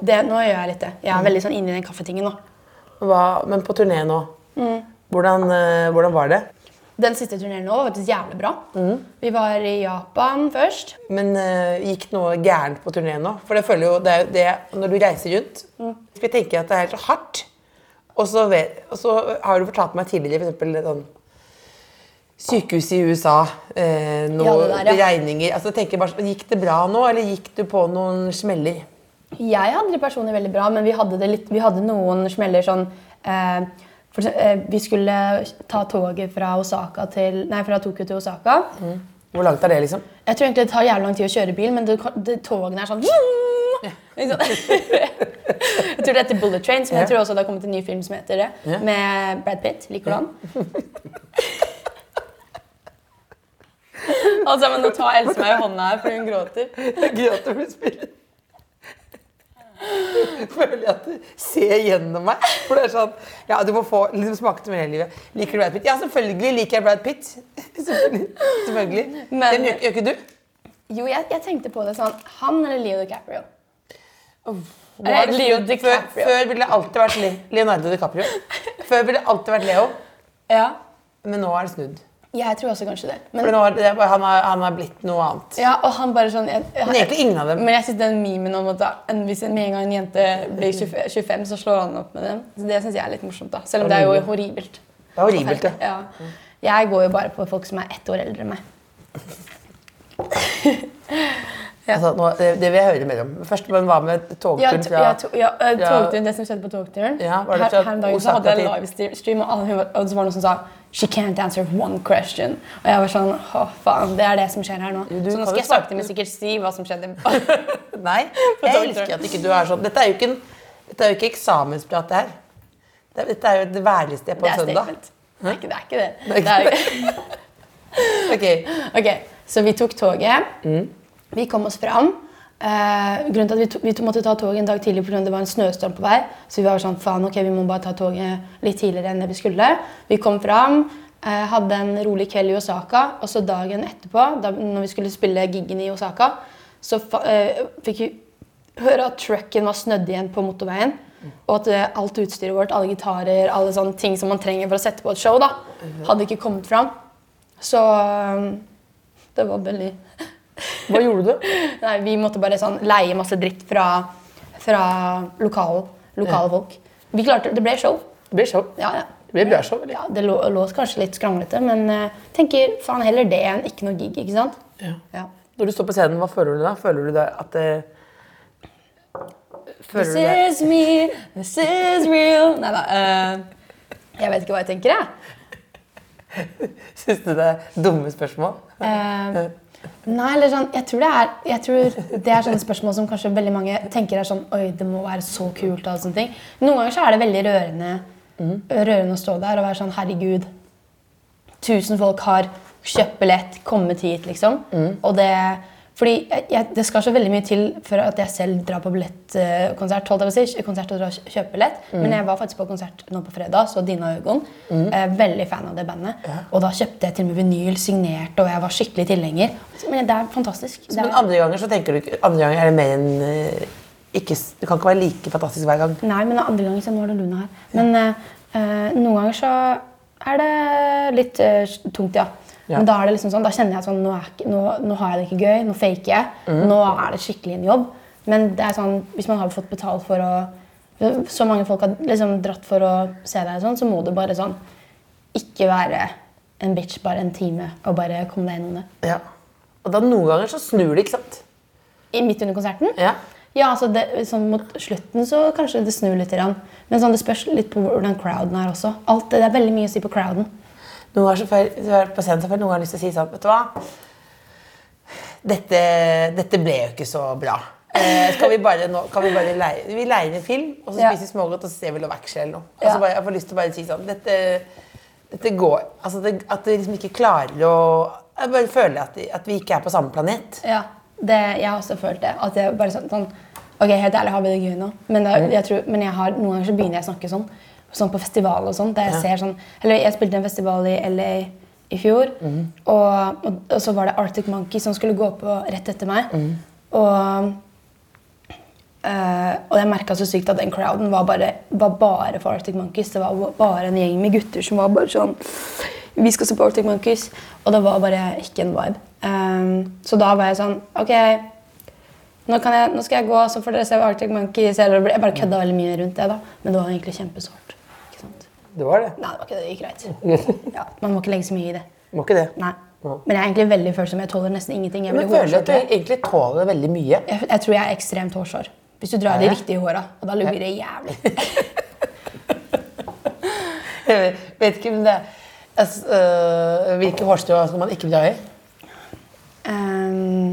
D: Det, nå gjør jeg litt det. Jeg
C: Mm.
D: er veldig sånn inni den kaffetingen nå.
C: Hva, men på turné nå,
D: Mm.
C: hvordan, eh, hvordan var det?
D: Den siste turneen nå var faktisk jævlig bra.
C: Mm.
D: Vi var i Japan først.
C: Men eh, gikk noe gærent på turné nå? For jeg føler jo, det er jo det, når du reiser rundt
D: Mm.
C: Skal jeg tenke at det er så hardt. Og så, vet, og så har du fortalt meg tidligere for eksempel sånn Sykehuset i USA, eh, noe
D: Ja, det der, ja.
C: regninger altså, jeg tenker bare, sånn, Gikk det bra nå, eller gikk du på noen smeller?
D: Jeg hadde det personlig veldig bra, men vi hadde, det litt, vi hadde noen smeller sånn eh, for, ekse- eh, Vi skulle ta toget fra, Osaka til, nei, fra Tokyo til Osaka.
C: Hvor langt er det, liksom?
D: Jeg tror egentlig det tar jævlig lang tid å kjøre bil, men det, det, togene er sånn *laughs* Ikke sant? Jeg tror det heter Bullet Trains, men jeg
C: Ja.
D: tror også det har kommet en ny film som heter det.
C: Ja.
D: Med Brad Pitt. Liker du han? *laughs* altså,
C: *laughs*
D: men nå tar Else meg i hånda her, for hun gråter.
C: Jeg gråter når du spiller. føler jeg at du ser gjennom meg. For det er sånn Ja, du må få liksom, smake til meg hele livet. Liker du Brad Pitt? Ja, selvfølgelig liker jeg Brad Pitt. *laughs* Selvfølgelig. selvfølgelig.
D: Men-
C: Den gjør, gjør ikke du?
D: Jo, jeg, jeg tenkte på det sånn Han eller Leo DiCaprio?
C: Nå har du
D: Leo
C: slutt.
D: DiCaprio.
C: Før, før ville det alltid vært Le- Leonardo DiCaprio. Før ville det alltid vært Leo,
D: Ja.
C: men nå er det snudd.
D: Jeg tror også kanskje det.
C: For
D: Men,
C: nå er det, han, har, han har blitt noe annet.
D: ja, og han bare sånn jeg, jeg,
C: Men egentlig ingen av dem.
D: Men jeg synes den memen om at da, en, hvis en, med en gang en jente blir 25, 25, så slår han opp med den. Så det syns jeg er litt morsomt. da. Selv om det er jo horribelt.
C: Det er horribelt, det.
D: ja. Jeg går jo bare på folk som er ett år eldre enn meg.
C: Altså, nå, det, det vil jeg høre mer om. Først, men hva med
D: Ja,
C: togturen
D: to,
C: fra
D: ja, to, ja, eh,
C: fra-
D: togturen, det som skjedde på togturen.
C: Ja, var det
D: her,
C: fra
D: her en dag så
C: Osaka
D: hadde jeg
C: til-
D: livestream, og alle, hun var- og det var noen som sa She can't answer one question. Og jeg var sånn Å, faen. Det er det som skjer her nå.
C: du kan
D: så nå
C: jo
D: skal jeg
C: svare.
D: sakte, men sikkert si hva som
C: *laughs*
D: skjedde.
C: Nei,
D: På
C: jeg
D: togturen.
C: elsker at ikke du er sånn. Dette er jo ikke, en, dette er jo ikke eksamensprat, det her. Det- Dette er jo et værligste på
D: Det
C: en
D: er
C: søndag.
D: statement. Det er ikke det. Er ikke det.
C: Det er
D: det
C: ikke
D: er,
C: *laughs* Ok,
D: *laughs* Ok, så vi tok toget. Vi kom oss fram. Eh, grunnen til at Vi, to, vi to måtte ta toget en dag tidlig fordi det var en snøstorm på vei. Så vi var sånn, faen, ok, vi må bare ta toget litt tidligere enn det vi skulle. Vi kom fram, eh, hadde en rolig kveld i Osaka, og så dagen etterpå, da, når vi skulle spille giggen i Osaka, så fa, eh, fikk vi høre at trucken var snødd igjen på motorveien. Og at eh, alt utstyret vårt, alle gitarer, alle sånne ting som man trenger for å sette på et show, da, hadde ikke kommet fram. Så um, det var veldig
C: Hva gjorde du?
D: *laughs* Nei, vi måtte bare sånn leie masse dritt fra, fra lokal, lokale folk. Vi klarte, det ble show.
C: Det blir show.
D: Ja, ja.
C: Det blir bra show, eller?
D: Ja, det lå, låt kanskje litt skranglete, men eh, tenker faen heller det enn ikke noe gig, ikke sant? Ja.
C: Når du står på scenen, hva føler du da? Føler du da at det Føler
D: This
C: du det?
D: is me, this is real. Nei da. jeg vet ikke hva jeg tenker, jeg.
C: Syns du det er dumme spørsmål?
D: Eh, nei, eller sånn, jeg tror det er jeg tror det er sånne spørsmål som kanskje veldig mange tenker er sånn Oi, det må være så kult. og alle sånne ting. Noen ganger så er det veldig rørende, rørende å stå der og være sånn Herregud, tusen folk har kjøpt billett, kommet hit, liksom.
C: Mm.
D: Og det, fordi jeg, jeg, det skal så veldig mye til for at jeg selv drar på billettkonsert. holdt jeg på å si, konsert og drar og kjøper billett.
C: Mm.
D: Men jeg var faktisk på konsert nå på fredag, så Dina og Øgon. Eh, veldig fan av det bandet. Og da kjøpte jeg til og med vinyl signert, og jeg var skikkelig tilhenger. Men det er fantastisk. Det
C: Men
D: er,
C: andre ganger så tenker du ikke Andre ganger er det mer enn eh, ikke, s- Det kan ikke være like fantastisk hver gang.
D: nei, men det er andre ganger så nå er det Luna her. Men eh, eh, noen ganger så er det litt eh, tungt, ja.
C: Ja.
D: Men da er det liksom sånn, da kjenner jeg at sånn, nå, er ikke, nå, nå har jeg det ikke gøy, nå faker jeg.
C: Mm.
D: Nå er det skikkelig en jobb. Men det er sånn, hvis man har fått betalt for å Så mange folk har liksom dratt for å se deg, og sånn, så må du bare sånn Ikke være en bitch bare en time og bare komme deg gjennom det.
C: Ja. Og da noen ganger så snur det, ikke sant?
D: I, midt under konserten?
C: Ja.
D: Ja, altså det, sånn Mot slutten så kanskje det snur litt. Grann. Men sånn, det spørs litt på hvordan crowden er også. Alt, det er veldig mye å si på crowden.
C: Noen ganger så får jeg, så er det på scenen så får jeg noen ganger lyst til å si sånn Vet du hva? Dette, dette ble jo ikke så bra. Eh, skal vi bare, nå, kan vi bare leie, vi leier en film, og så
D: Ja.
C: spiser vi smågodt og så ser vi Love Actually eller noe. Og
D: Ja.
C: så bare, jeg får lyst til å bare si sånn Dette, dette går altså det, At det liksom ikke klarer å Jeg bare føler at, at vi ikke er på samme planet.
D: Ja, det, Jeg har også følt det. At jeg bare sånn, sånn Ok, helt ærlig, har vi det gøy nå? Men, det, jeg tror, men jeg har, noen ganger så begynner jeg å snakke sånn. Sånn på festival og sånn. Der jeg ser sånn Eller jeg spilte en festival i LA i fjor. Og, og, og så var det Arctic Monkey som skulle gå på rett etter meg. Og Eh, og jeg merka så sykt at den crowden var bare, var bare for Arctic Monkeys. Det var bare en gjeng med gutter som var bare sånn Vi skal se på Arctic Monkeys. Og det var bare ikke en vibe. Ehm, så da var jeg sånn OK, nå, kan jeg, nå skal jeg gå, så får dere se Arctic Monkeys. Eller, jeg bare kødda veldig mye rundt det, da. Men det var egentlig kjempesårt. Ikke sant?
C: Det var det.
D: Nei, det var ikke det. Det gikk
C: *laughs*
D: greit. Ja, man må ikke legge så mye i det.
C: Må ikke det.
D: Nei.
C: Ja.
D: Men jeg er egentlig veldig følsom. Jeg tåler nesten ingenting. Jeg
C: Men
D: blir
C: jeg føler at du
D: hårsår.
C: egentlig tåler veldig mye. *laughs*
D: Jeg, jeg tror jeg er ekstremt hårsår. Hvis du drar
C: Er
D: de
C: det?
D: riktige håra, og da lugger det jævlig. *laughs*
C: Jeg vet ikke om det er altså, øh, Hvilke hårstrå skal man ikke dra i?
D: Ehm,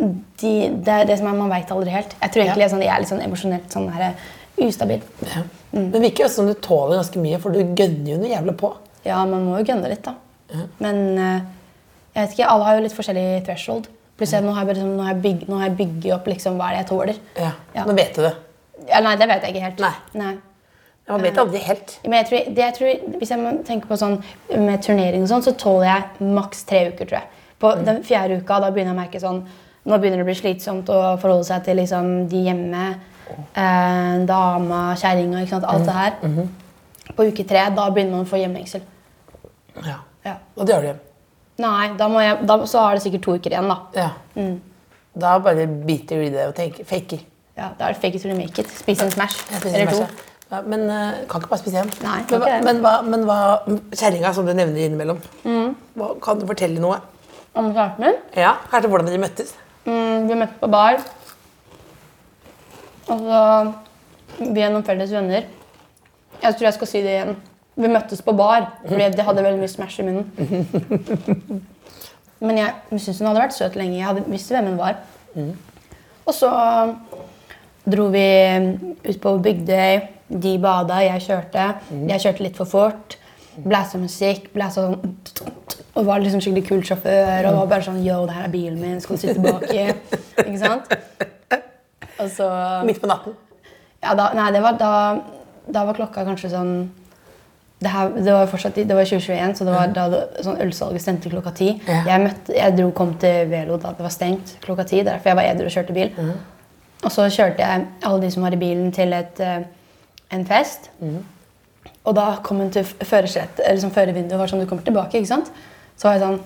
D: de, det er det som er, man veit aldri helt. Jeg tror
C: Ja.
D: egentlig jeg, er sånn, jeg er litt sånn emosjonelt sånn her, eh, ustabil.
C: Ja. Men det virker jo som du tåler ganske mye, for du gønner jo noe jævla på.
D: Ja, man må jo gønne litt, da. Men eh, jeg vet ikke, alle har jo litt forskjellig threshold. Pluss at nå har jeg, bare, sånn- nå har jeg, bygg, nå har jeg bygget opp liksom, hva er det jeg tåler.
C: Ja.
D: Ja.
C: Nå vet du det.
D: Ja, nei, det vet jeg ikke helt.
C: Nei. Man
D: Eh.
C: vet aldri helt.
D: Men jeg tror, det jeg tror, hvis jeg må tenke på sånn med turnering og sånn, så tåler jeg maks tre uker, tror jeg. På den fjerde uka, da begynner jeg å merke sånn Nå begynner det å bli slitsomt å forholde seg til liksom, de hjemme, eh, dama, kjerringa, ikke sant. Alt det her. På uke tre, da begynner man å få hjemmengsel.
C: Ja.
D: Ja.
C: Og det gjør de.
D: Nei, da må jeg, da, så har det sikkert to uker igjen, da.
C: Ja.
D: Mm.
C: Da bare biter du i det og tenker, faker.
D: Ja, da er det fake it or make it. Spis en Smash.
C: Jeg spiser
D: Eller to.
C: masse. Ja, men eh, kan ikke bare spise én.
D: Nei,
C: men,
D: kan
C: hva-
D: ikke det.
C: men hva, men hva Kjerringa, som du nevner innimellom,
D: Mm.
C: hva, kan du fortelle noe?
D: Om kjæresten min.
C: Ja, Kanskje hvordan dere møttes?
D: Mm, vi møttes på bar. Og så Vi er noen felles venner. Jeg tror jeg skal si det igjen. Vi møttes på bar, fordi de hadde veldig mye Smash i munnen. Men jeg syntes hun hadde vært søt lenge. Jeg hadde visste hvem hun var. Og så dro vi ut på Bygdøy. De bada, jeg kjørte. Jeg kjørte litt for fort. Blæsa musikk. Blæsa sånn Og var liksom skikkelig kul sjåfør. Og var bare sånn Yo, det her er bilen min. Skal du sitte baki? Ikke sant? Og så
C: Midt på natten?
D: ja, da, nei, det var, da, da var klokka kanskje sånn det, her, det var fortsatt i- det var 2021, så det var da det- sånn ølsalget stengte klokka ti.
C: Ja.
D: Jeg, møtte, jeg dro, kom til Velo da det var stengt klokka ti, derfor jeg var edru og kjørte bil. Og så kjørte jeg alle de som var i bilen, til et, eh, en fest. Og da kom hun til f- førersetet, eller sånn førervinduet og var sånn Du kommer tilbake, ikke sant? Så var jeg sånn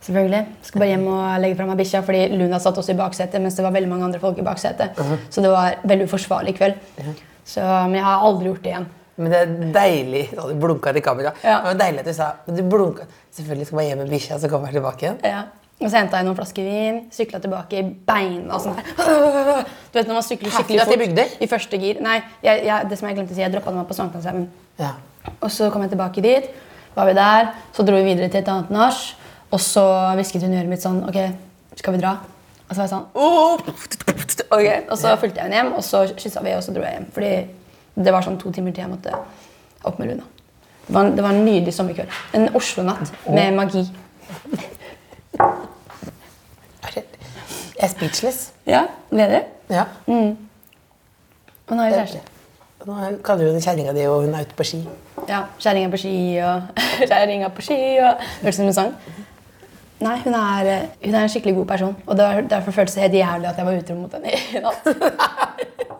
D: Selvfølgelig. Skal bare hjem og legge fra meg bikkja, fordi Luna satt også i baksetet, mens det var veldig mange andre folk i baksetet. Så det var veldig uforsvarlig kveld. Så, men jeg har aldri gjort det igjen.
C: Men det er deilig da du blunka til kamera.
D: Ja.
C: Det var deilig at du sa men du blunka. Selvfølgelig skal man hjem med bikkja, så kommer jeg tilbake igjen.
D: Ja. Og så henta jeg noen flasker vin, sykla tilbake i beina og sånn her. *laughs* Du vet når man sykler skikkelig
C: Herfra til
D: fort
C: Bygdøy?
D: i første gir. Nei, jeg, jeg, det som jeg glemte å si, jeg droppa den opp på Sankthanshaugen.
C: Ja.
D: Og så kom jeg tilbake dit, var vi der, så dro vi videre til et annet nach. Og så hvisket hun i øret mitt sånn Ok, skal vi dra? Og så var jeg sånn
C: Oh!
D: Ok, Og så fulgte jeg henne hjem, og så kyssa vi, og så dro jeg hjem. Fordi det var sånn to timer til jeg måtte opp med Luna. Det var, det var en nydelig sommerkveld. En Oslo-natt med magi.
C: Jeg er speechless.
D: Ja, Ble det?
C: Ja.
D: Og nå er vi kjærester.
C: Nå kaller hun kjerringa di, og hun er ute på ski.
D: Ja, Kjerringa på ski og *laughs* Kjerringa på ski og Hørtes ut som en sang. Nei, hun er, eh, hun er en skikkelig god person. Og det var derfor føltes det helt jævlig at jeg var utro mot henne i *laughs* natt.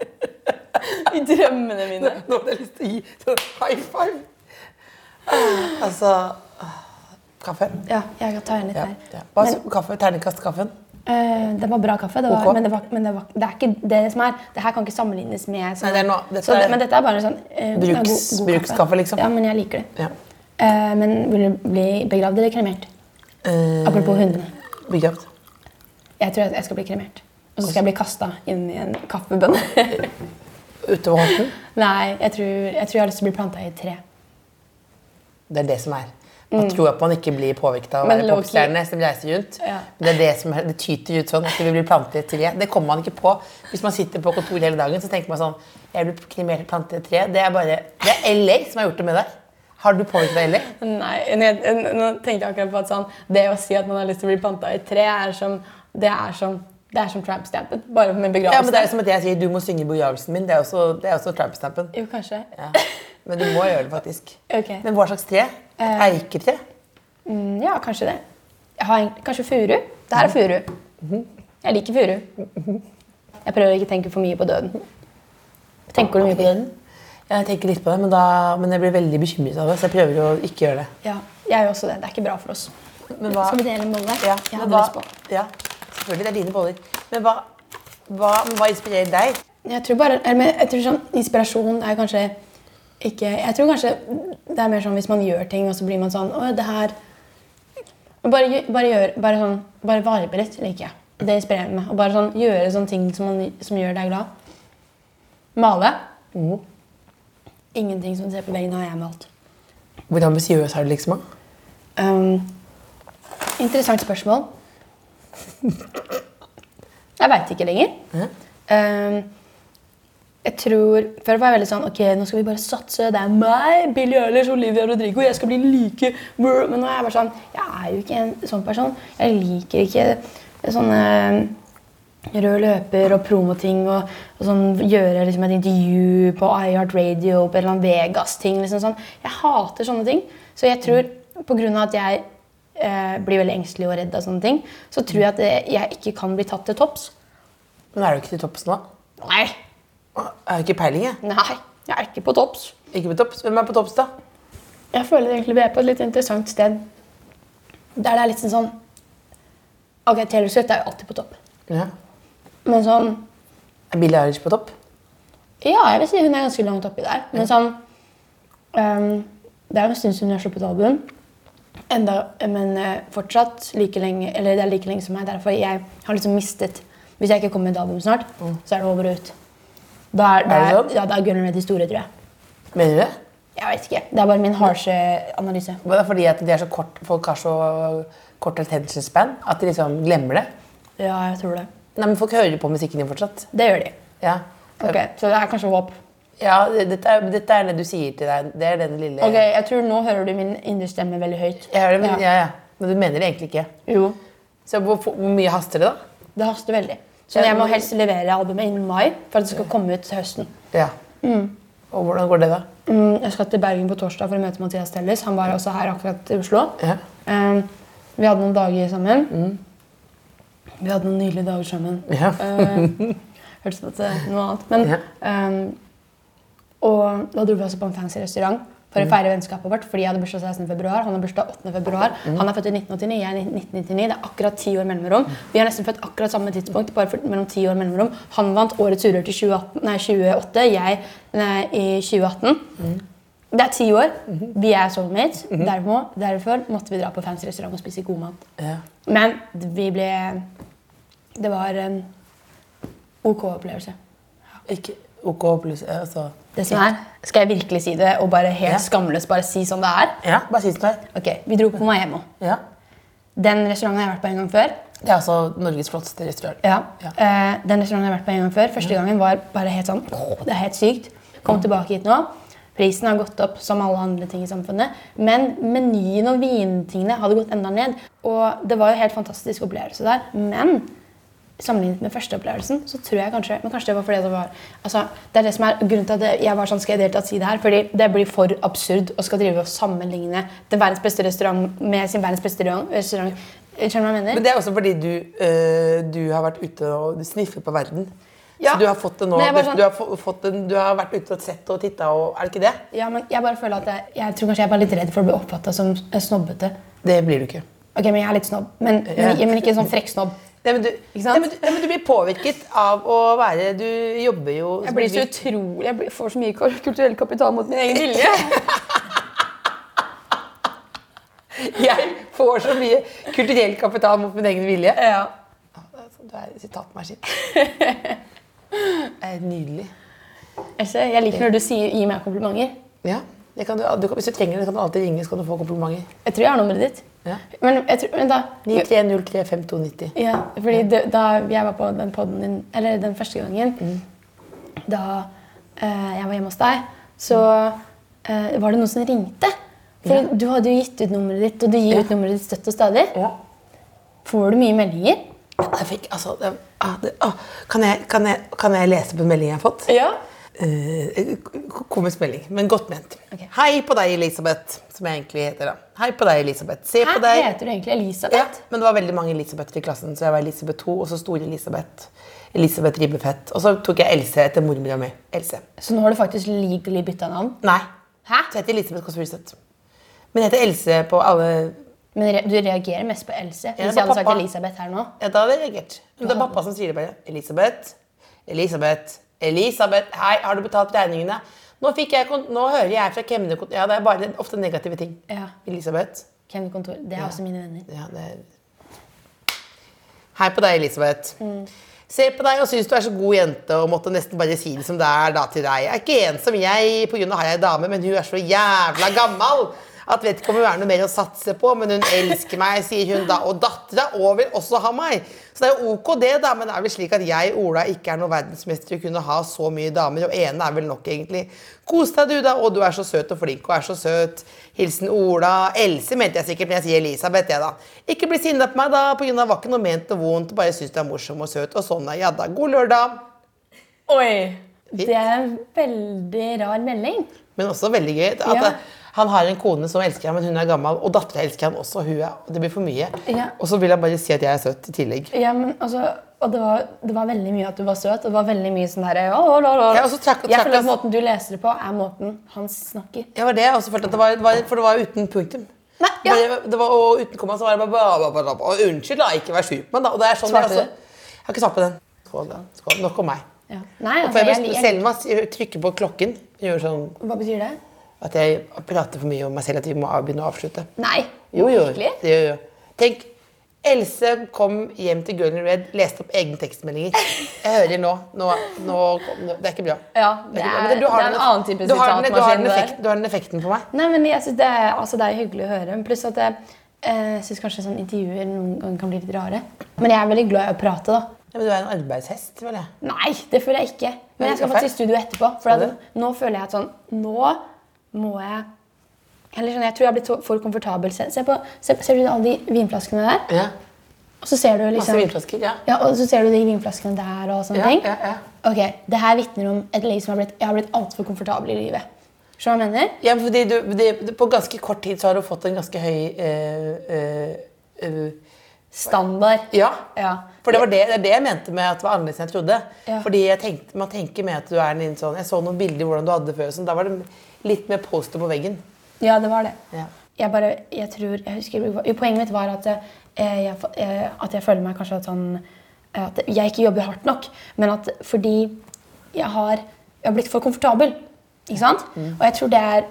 D: I drømmene mine.
C: *laughs* Nå hadde jeg lyst til å gi sånn high five. Ah, Altså ah, Kaffe.
D: Ja, jeg kan ta igjen litt
C: Ja.
D: her.
C: ja. Hva
D: Men-
C: er kaffe? Terningkastkaffen?
D: Eh, det var bra kaffe, det var,
C: Ok.
D: men, det var, men det, var, det er ikke det som er. Det her kan ikke sammenlignes med sånn-
C: Nei, det er noe- dette
D: så det,
C: er-
D: Men dette er bare sånn eh,
C: Bruks-
D: ja,
C: brukskaffe, liksom.
D: Ja, men jeg liker det.
C: Ja.
D: Eh, men vil du bli begravd eller kremert?
C: Eh,
D: Apropos hundene.
C: Begravd.
D: Jeg tror at jeg skal bli kremert. Og så skal jeg bli kasta inn i en kaffebønne.
C: Utover hånden.
D: *laughs* Nei, jeg tror, jeg tror jeg har lyst til å bli planta i et tre.
C: Det er det som er. Man tror at man ikke blir påvirket av å
D: Mm. Men
C: være
D: low-key-
C: popstjerne som reiser rundt.
D: Ja.
C: Det er det som er, det tyter ut sånn at vi blir plantet i et tre. Det kommer man ikke på. Hvis man sitter på kontoret hele dagen, så tenker man sånn Jeg blir krimert plantet i et tre. Det er bare Det er LA som har gjort det med deg. Har du påvirket deg i LA?
D: Nei, men jeg, n- nå tenkte jeg akkurat på at sånn, det å si at man har lyst til å bli planta i et tre, er som, det er som, det er som tramp-stampen. Bare med begravelse.
C: Ja, men det er jo som at jeg sier 'du må synge i begravelsen min'. Det er også, det er også tramp-stampen.
D: Jo, kanskje.
C: Ja. Men du må gjøre det, faktisk.
D: *laughs* Ok.
C: Men hva slags tre?
D: Eh.
C: Eiketre?
D: Mm, Ja, kanskje det. Jeg har egentlig, kanskje furu. Det her er furu.
C: Mhm.
D: Jeg liker furu. Jeg prøver å ikke tenke for mye på døden. Tenker du mye på døden?
C: Jeg tenker litt på det, men, da, men jeg blir veldig bekymret av det, så jeg prøver å ikke gjøre det.
D: Ja, jeg gjør også det. Det er ikke bra for oss.
C: Men hva-
D: Skal vi dele en bolle?
C: Ja,
D: jeg
C: men
D: hadde
C: hva-
D: lyst på.
C: Ja, selvfølgelig. Det er dine boller. Men hva, hva, men hva inspirerer deg?
D: Jeg tror bare, eller, men jeg tror sånn, inspirasjon er kanskje ikke Jeg tror kanskje det er mer sånn hvis man gjør ting, og så blir man sånn Å, det her Men Bare, gjø- bare gjør, bare sånn, bare varme litt, liker jeg. Det inspirerer meg. Og bare sånn, gjøre sånne ting som, man, som gjør deg glad. Male. Ingenting som du ser på veggen, har jeg malt.
C: Hvor ambisiøs er du, liksom?
D: Um, interessant spørsmål. Jeg veit ikke lenger. Um, jeg tror, Før var jeg veldig sånn ok, nå skal vi bare satse. Det er meg, Billie Eilish, Olivia Rodrigo. Jeg skal bli like Men nå er jeg bare sånn Jeg er jo ikke en sånn person. Jeg liker ikke sånne rød løper og promoting og, og sånn gjøre liksom et intervju på iHeart Radio på en eller annen Vegas-ting. liksom sånn. Jeg hater sånne ting. Så jeg tror, pga. at jeg eh, blir veldig engstelig og redd av sånne ting, så tror jeg at eh, jeg ikke kan bli tatt til topps.
C: Men er du ikke til topps nå?
D: Nei.
C: Jeg har ikke peiling, jeg.
D: Nei, jeg er ikke på topps.
C: Ikke på topps. Hvem er på topps, da?
D: Jeg føler egentlig vi er på et litt interessant sted. Der det er litt sånn Ok, Taylor Swift er jo alltid på topp.
C: Ja.
D: Men sånn
C: Er Billie Eilish på topp?
D: Ja, jeg vil si hun er ganske langt oppi der. Men sånn ehm, Det er jo en stund siden hun har sluppet album. Enda, men eh, fortsatt like lenge Eller det er like lenge som meg. Derfor jeg har liksom mistet Hvis jeg ikke kommer med et album snart, så er det over og ut. Da er, da
C: Mm. Er det
D: er,
C: sånn?
D: ja, da er Gunneren de store, tror jeg.
C: Mener du det?
D: Jeg vet ikke. Det er bare min harde analyse.
C: Men Det er fordi at de er så kort, folk har så kort attention span at de liksom glemmer det.
D: Ja, jeg tror det.
C: Nei, men Folk hører på musikken din fortsatt.
D: Det gjør de.
C: Ja,
D: Ok, Så det er kanskje håp.
C: ja det- dette, er, dette er det du sier til deg. Det er den lille
D: Ok, jeg tror Nå hører du min indre stemme veldig høyt.
C: Jeg hører det, men,
D: Ja.
C: ja. Ja, Men du mener det egentlig ikke.
D: Jo,
C: Så hvor, hvor mye haster det, da?
D: Det haster veldig. Så jeg må helst levere albumet innen mai for at det skal komme ut til høsten.
C: Ja. Mm. Og hvordan går det, da?
D: Mm, Jeg skal til Bergen på torsdag for å møte Mathias Telles. Han var også her akkurat i Oslo.
C: Ja.
D: Eh, Vi hadde noen dager sammen. Vi hadde noen nydelige dager sammen.
C: Ja.
D: Eh, Hørtes ut som det var noe annet. Men,
C: Ja.
D: eh, og da dro vi også på en fancy restaurant for å feire vennskapet vårt. Fordi jeg hadde bursdag 16. februar, han har bursdag 8. februar. Han er født i 1989, jeg er i 1999. Det er akkurat ti år mellomrom. Vi er nesten født akkurat samme tidspunkt, bare for, mellom ti år mellomrom. Han vant årets Urør til 2018, nei, 2008, jeg nei, i 2018. Det er ti år. Vi er soulmates. Derfor, derfor måtte vi dra på fancy restaurant og spise god mat.
C: Ja.
D: Men vi ble Det var en OK opplevelse.
C: Ikke OK pluss ja, altså.
D: Det som er, Skal jeg virkelig si det og bare helt
C: Ja.
D: skamløst bare si sånn det er?
C: Ja, bare si det til meg.
D: Ok, Vi dro på Maemmo.
C: Ja.
D: Den restauranten har jeg vært på en gang før.
C: Det er altså Norges flotteste restaurant.
D: Ja.
C: Ja.
D: Eh, den restauranten jeg har vært på en gang før. Første gangen var bare helt sånn «Åh, Det er helt sykt. Kom tilbake hit nå. Prisen har gått opp som alle andre ting i samfunnet. Men menyen og vintingene hadde gått enda ned. Og det var jo helt fantastisk opplevelse der. Men sammenlignet med førsteopplevelsen, så tror jeg kanskje Men kanskje det var fordi det var altså, Det er det som er grunnen til at det- jeg var sånn Skal jeg i det hele tatt si det her? Fordi det blir for absurd å skal drive og sammenligne det verdens beste restaurant med sin verdens beste restaurant. restaurant. Skjønner du hva jeg mener?
C: Men det er også fordi du, øh, du har vært ute og du sniffer på verden.
D: Ja.
C: Så du har fått det nå.
D: Men jeg er bare
C: du,
D: sånn-
C: du, har få- fått den, du har vært ute og sett og titta og Er det ikke det?
D: Ja, men jeg bare føler at jeg, jeg tror kanskje jeg er bare litt redd for å bli oppfatta som eh, snobbete.
C: Det blir du ikke.
D: Ok, men jeg er litt snobb. Men, men,
C: Ja.
D: men ikke en sånn frekk snobb.
C: Nei, men, du,
D: Ikke
C: Nei,
D: sant?
C: men, du, nei, men du blir påvirket av å være Du jobber jo som en vilt-
D: utrolig Jeg får så mye kulturell kapital mot min egen vilje.
C: Jeg får så mye kulturell kapital mot min egen vilje.
D: *laughs* ja.
C: Altså, Du er en sitatmaskin. *laughs* Det er Nydelig.
D: Else, Altså, jeg liker når du sier, gir meg komplimenter.
C: Ja. Det kan du, du kan, hvis du trenger det, kan du alltid ringe, så kan du få komplimenter.
D: Jeg tror jeg har nummeret ditt.
C: Ja.
D: Men, jeg tror, men da
C: 93035290.
D: Ja, fordi det, da jeg var på den podden din, eller den første gangen, da eh, jeg var hjemme hos deg, så eh, var det noen som ringte. For du hadde jo gitt ut nummeret ditt, og du gir ut nummeret ditt støtt og stadig.
C: Ja.
D: Får du mye meldinger?
C: Jeg fikk, altså, det, ah, det, ah. Kan, jeg, kan, jeg, kan jeg lese på meldingen jeg har fått?
D: Ja.
C: Eh, k- komisk melding, men godt ment.
D: Ok.
C: Hei på deg, Elisabeth. Som jeg egentlig heter, da. Hei på deg, Elisabeth. Se
D: Her
C: på deg.
D: heter du egentlig
C: Ja,
D: Elisabeth.
C: men det var veldig mange Elisabeth i klassen, så jeg var Elisabeth 2, og så store Elisabeth. Elisabeth Ribbefett. Og så tok jeg Else etter mormora mi. Else.
D: Så nå har du faktisk legally bytta navn.
C: Nei.
D: Hæ?
C: Så jeg heter Elisabeth Kåss Furuseth. Men jeg heter Else på alle
D: Men re du reagerer mest på Else.
C: Ja,
D: Hvis
C: på
D: jeg hadde sagt
C: pappa.
D: Elisabeth her nå
C: Ja, da hadde jeg reagert. Men det er pappa som sier det bare. Elisabeth. Elisabeth. Elisabeth. Hei, har du betalt regningene? Nå, fikk jeg kont nå hører jeg fra kemnerkontoret Ja, det er bare ofte negative ting.
D: Ja.
C: Elisabeth.
D: Hvem i kontor? Det er også mine venner.
C: Ja, det er... Hei på deg, Elisabeth. Se på deg og syns du er så god jente og måtte nesten bare si det som det er da til deg. Jeg er ikke en som jeg, på grunn av har jeg dame, men hun er så jævla gammal. at vet ikke om hun er noe mer å satse på, men hun elsker meg, sier hun da. Og dattera òg vil også ha meg. Så det er jo ok, det, da, men det er vel slik at jeg, Ola, ikke er noen verdensmester i å kunne ha så mye damer, og ene er vel nok, egentlig. Kos deg, du, da. Og du er så søt og flink og er så søt. Hilsen Ola. Else mente jeg sikkert, men jeg sier Elisabeth, jeg, da. Ikke bli sinna på meg, da, på grunn av var ikke noe ment noe vondt, bare syns du er morsom og søt, og sånn er ja da. God lørdag.
D: Oi!
C: Fint.
D: Det er en veldig rar melding.
C: Men også veldig gøy at eh,
D: Ja.
C: han har en kone som elsker ham, men hun er gammel. Og dattera elsker ham også. Hun er, og det blir for mye.
D: Ja.
C: Og så vil han bare si at jeg er søt i tillegg.
D: Ja, men altså, og det var, det var veldig mye at du var søt. og Det var veldig mye sånn der, å, å, å, å.
C: Ja, og så trakk-
D: Jeg
C: trakk-
D: føler at måten du leser det på, er måten han snakker.
C: Det var det jeg også følte at det var, det var For det var uten punktum.
D: Nei, ja.
C: Bare- det var, og uten komma så var det bare bla, bla, bla, bla. Og unnskyld, da. Ikke vær sur på meg, da. Og det er sånn
D: Svarte
C: jeg,
D: du?
C: også, jeg har ikke svart på den. Skål, da. Skål. Nok om meg.
D: Ja. Nei,
C: Og
D: altså,
C: for jeg,
D: jeg,
C: blir-
D: liker-
C: Selma sier- trykker på klokken. Hun gjør sånn
D: Hva betyr det?
C: at jeg prater for mye om meg selv at vi må av- begynne å avslutte.
D: Nei.
C: Jo, jo.
D: Virkelig?
C: Det gjør jeg. Tenk, Else kom hjem til Girl in Red, leste opp egne tekstmeldinger. Jeg hører nå, nå, nå, kom- nå Det er ikke bra.
D: Ja,
C: Det
D: det
C: er ikke bra.
D: er,
C: Men
D: det
C: du har
D: er en
C: den-
D: annen type
C: du har den- du har den
D: sitatmaskin det der.
C: effekten- Du har den effekten på meg.
D: Nei, men jeg synes det, er- altså, det er hyggelig å høre. Pluss at jeg eh, synes kanskje sånn intervjuer noen ganger kan bli litt rare. Men jeg er veldig glad i å prate, da.
C: Ja, men du er en arbeidshest, vel jeg.
D: Nei, det føler jeg ikke. Men jeg skal
C: Hvorfor?
D: faktisk i studio etterpå. For
C: Skal
D: at, nå føler jeg at sånn Nå må jeg eller sånn, Jeg tror jeg har blitt så- for komfortabel. Se, se på se, ser du alle de vinflaskene der?
C: Ja.
D: Og så ser du
C: Masse
D: liksom
C: vinflasker. Ja.
D: ja, og så ser du de vinflaskene der og sånne
C: Ja,
D: ting.
C: ja, ja.
D: Ok, Det her vitner om et liv som har blitt, jeg har blitt altfor komfortabel i livet. Skjønner du hva jeg mener?
C: ja, fordi du, det- det- På ganske kort tid så har du fått en ganske høy eh, eh, eh,
D: Standard.
C: Ja.
D: Ja.
C: For det var det, det, er det jeg mente med at det var annerledes enn jeg trodde.
D: Ja.
C: Fordi jeg tenkte, Man tenker med at du er en sånn Jeg så noen bilder hvordan du hadde det før. Sånn, da var det litt mer poster på veggen.
D: Ja, det var det.
C: Ja.
D: Jeg bare, jeg tror, jeg husker, jo, poenget mitt var at eh, jeg, eh, at jeg føler meg kanskje at sånn eh, At jeg ikke jobber hardt nok. Men at fordi jeg har, jeg har blitt for komfortabel. Ikke sant?
C: Mm.
D: Og jeg tror det er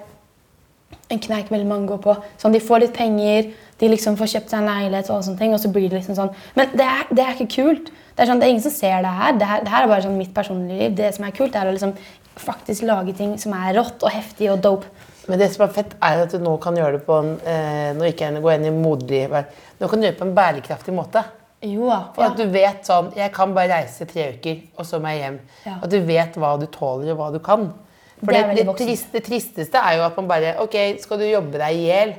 D: en kneik veldig mange går på. Sånn, De får litt penger, de liksom får kjøpt seg en leilighet, og sånne ting, og så blir det liksom sånn. Men det er, det er ikke kult. Det er, sånn, det er ingen som ser det her. Det her, det her er bare sånn mitt personlige liv. Det som er kult, er å liksom faktisk lage ting som er rått og heftig og dope.
C: Men det som er fett, er at du nå kan gjøre det på en eh, Nå ikke jeg går inn i modig vær- Nå kan du gjøre det på en bærekraftig måte.
D: Jo da.
C: For at du vet sånn Jeg kan bare reise tre uker, og så må jeg hjem.
D: Ja.
C: At du vet hva du tåler, og hva du kan. For det,
D: Det er
C: det,
D: veldig voksent.
C: trist, det tristeste er jo at man bare OK, skal du jobbe deg i hjel,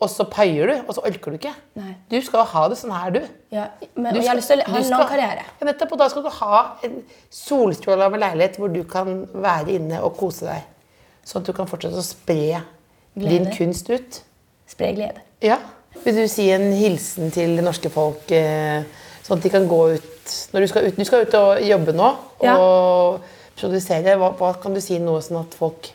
C: og så paier du, og så orker du ikke.
D: Nei.
C: Du skal jo ha det sånn her, du.
D: Ja, men,
C: Du
D: og jeg
C: skal-
D: har lyst til å ha
C: du
D: en
C: skal-
D: lang karriere.
C: Ja, nettopp, og da skal du ha en solstråle av en leilighet hvor du kan være inne og kose deg. Sånn at du kan fortsette å spre din
D: Glede.
C: kunst ut.
D: Spre glede.
C: Ja. Vil du si en hilsen til det norske folk, eh, sånn at de kan gå ut når Du skal ut, du skal ut og jobbe nå
D: Ja.
C: og produsere. Hva, hva kan du si nå, sånn at folk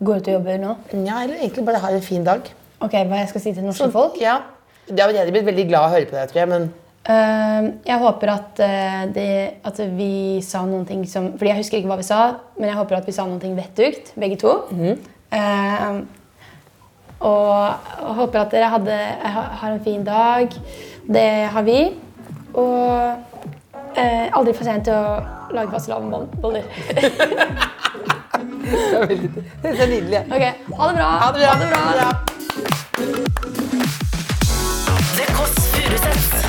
D: Går ut og jobber nå.
C: ja, eller egentlig bare har en fin dag?
D: Ok, Hva jeg skal si til norske folk?
C: Ja. De har allerede blitt veldig glad av å høre på deg, tror jeg. men...
D: Ehm, jeg håper at, eh, det, at vi sa noen ting som Fordi jeg husker ikke hva vi sa, men jeg håper at vi sa noen ting vettugt, begge to.
C: Mhm.
D: Ehm, og jeg håper at dere hadde, jeg ha- har en fin dag. Det har vi. Og eh, aldri for sent til å lage fastelavnboller.
C: Det er veldig- det er nydelig.
D: *laughs* Ok, ha det bra!
C: Ha det bra. Ha det bra.
B: Det Kåss Furuseths.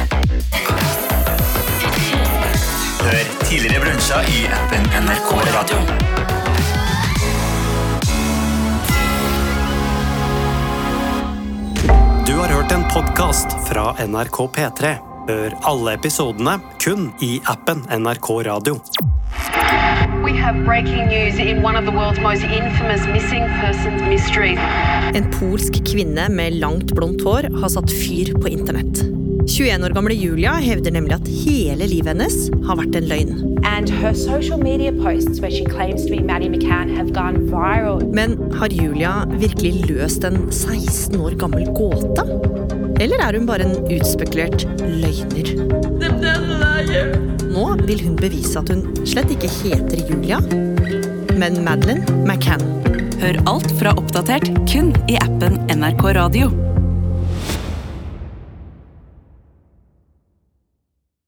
F: Hør tidligere brunsja i appen NRK Radio.
A: Du har hørt en podkast fra NRK P3. Hør alle episodene kun i appen NRK Radio.
G: We have breaking news in one of the world's most infamous missing persons mysteries.
H: En polsk kvinne med langt blondt hår har satt fyr på internett. 21 år gamle Julia hevder nemlig at hele livet hennes har vært en løgn.
I: and her social media posts where she claims to be Maddie McCann have gone viral.
H: Men har Julia virkelig løst en 16 år gammel gåte? Eller er hun bare en utspekulert løgner? Nå vil hun bevise at hun slett ikke heter Julia, men Madeline McCann.
J: Hør alt fra oppdatert kun i appen NRK Radio.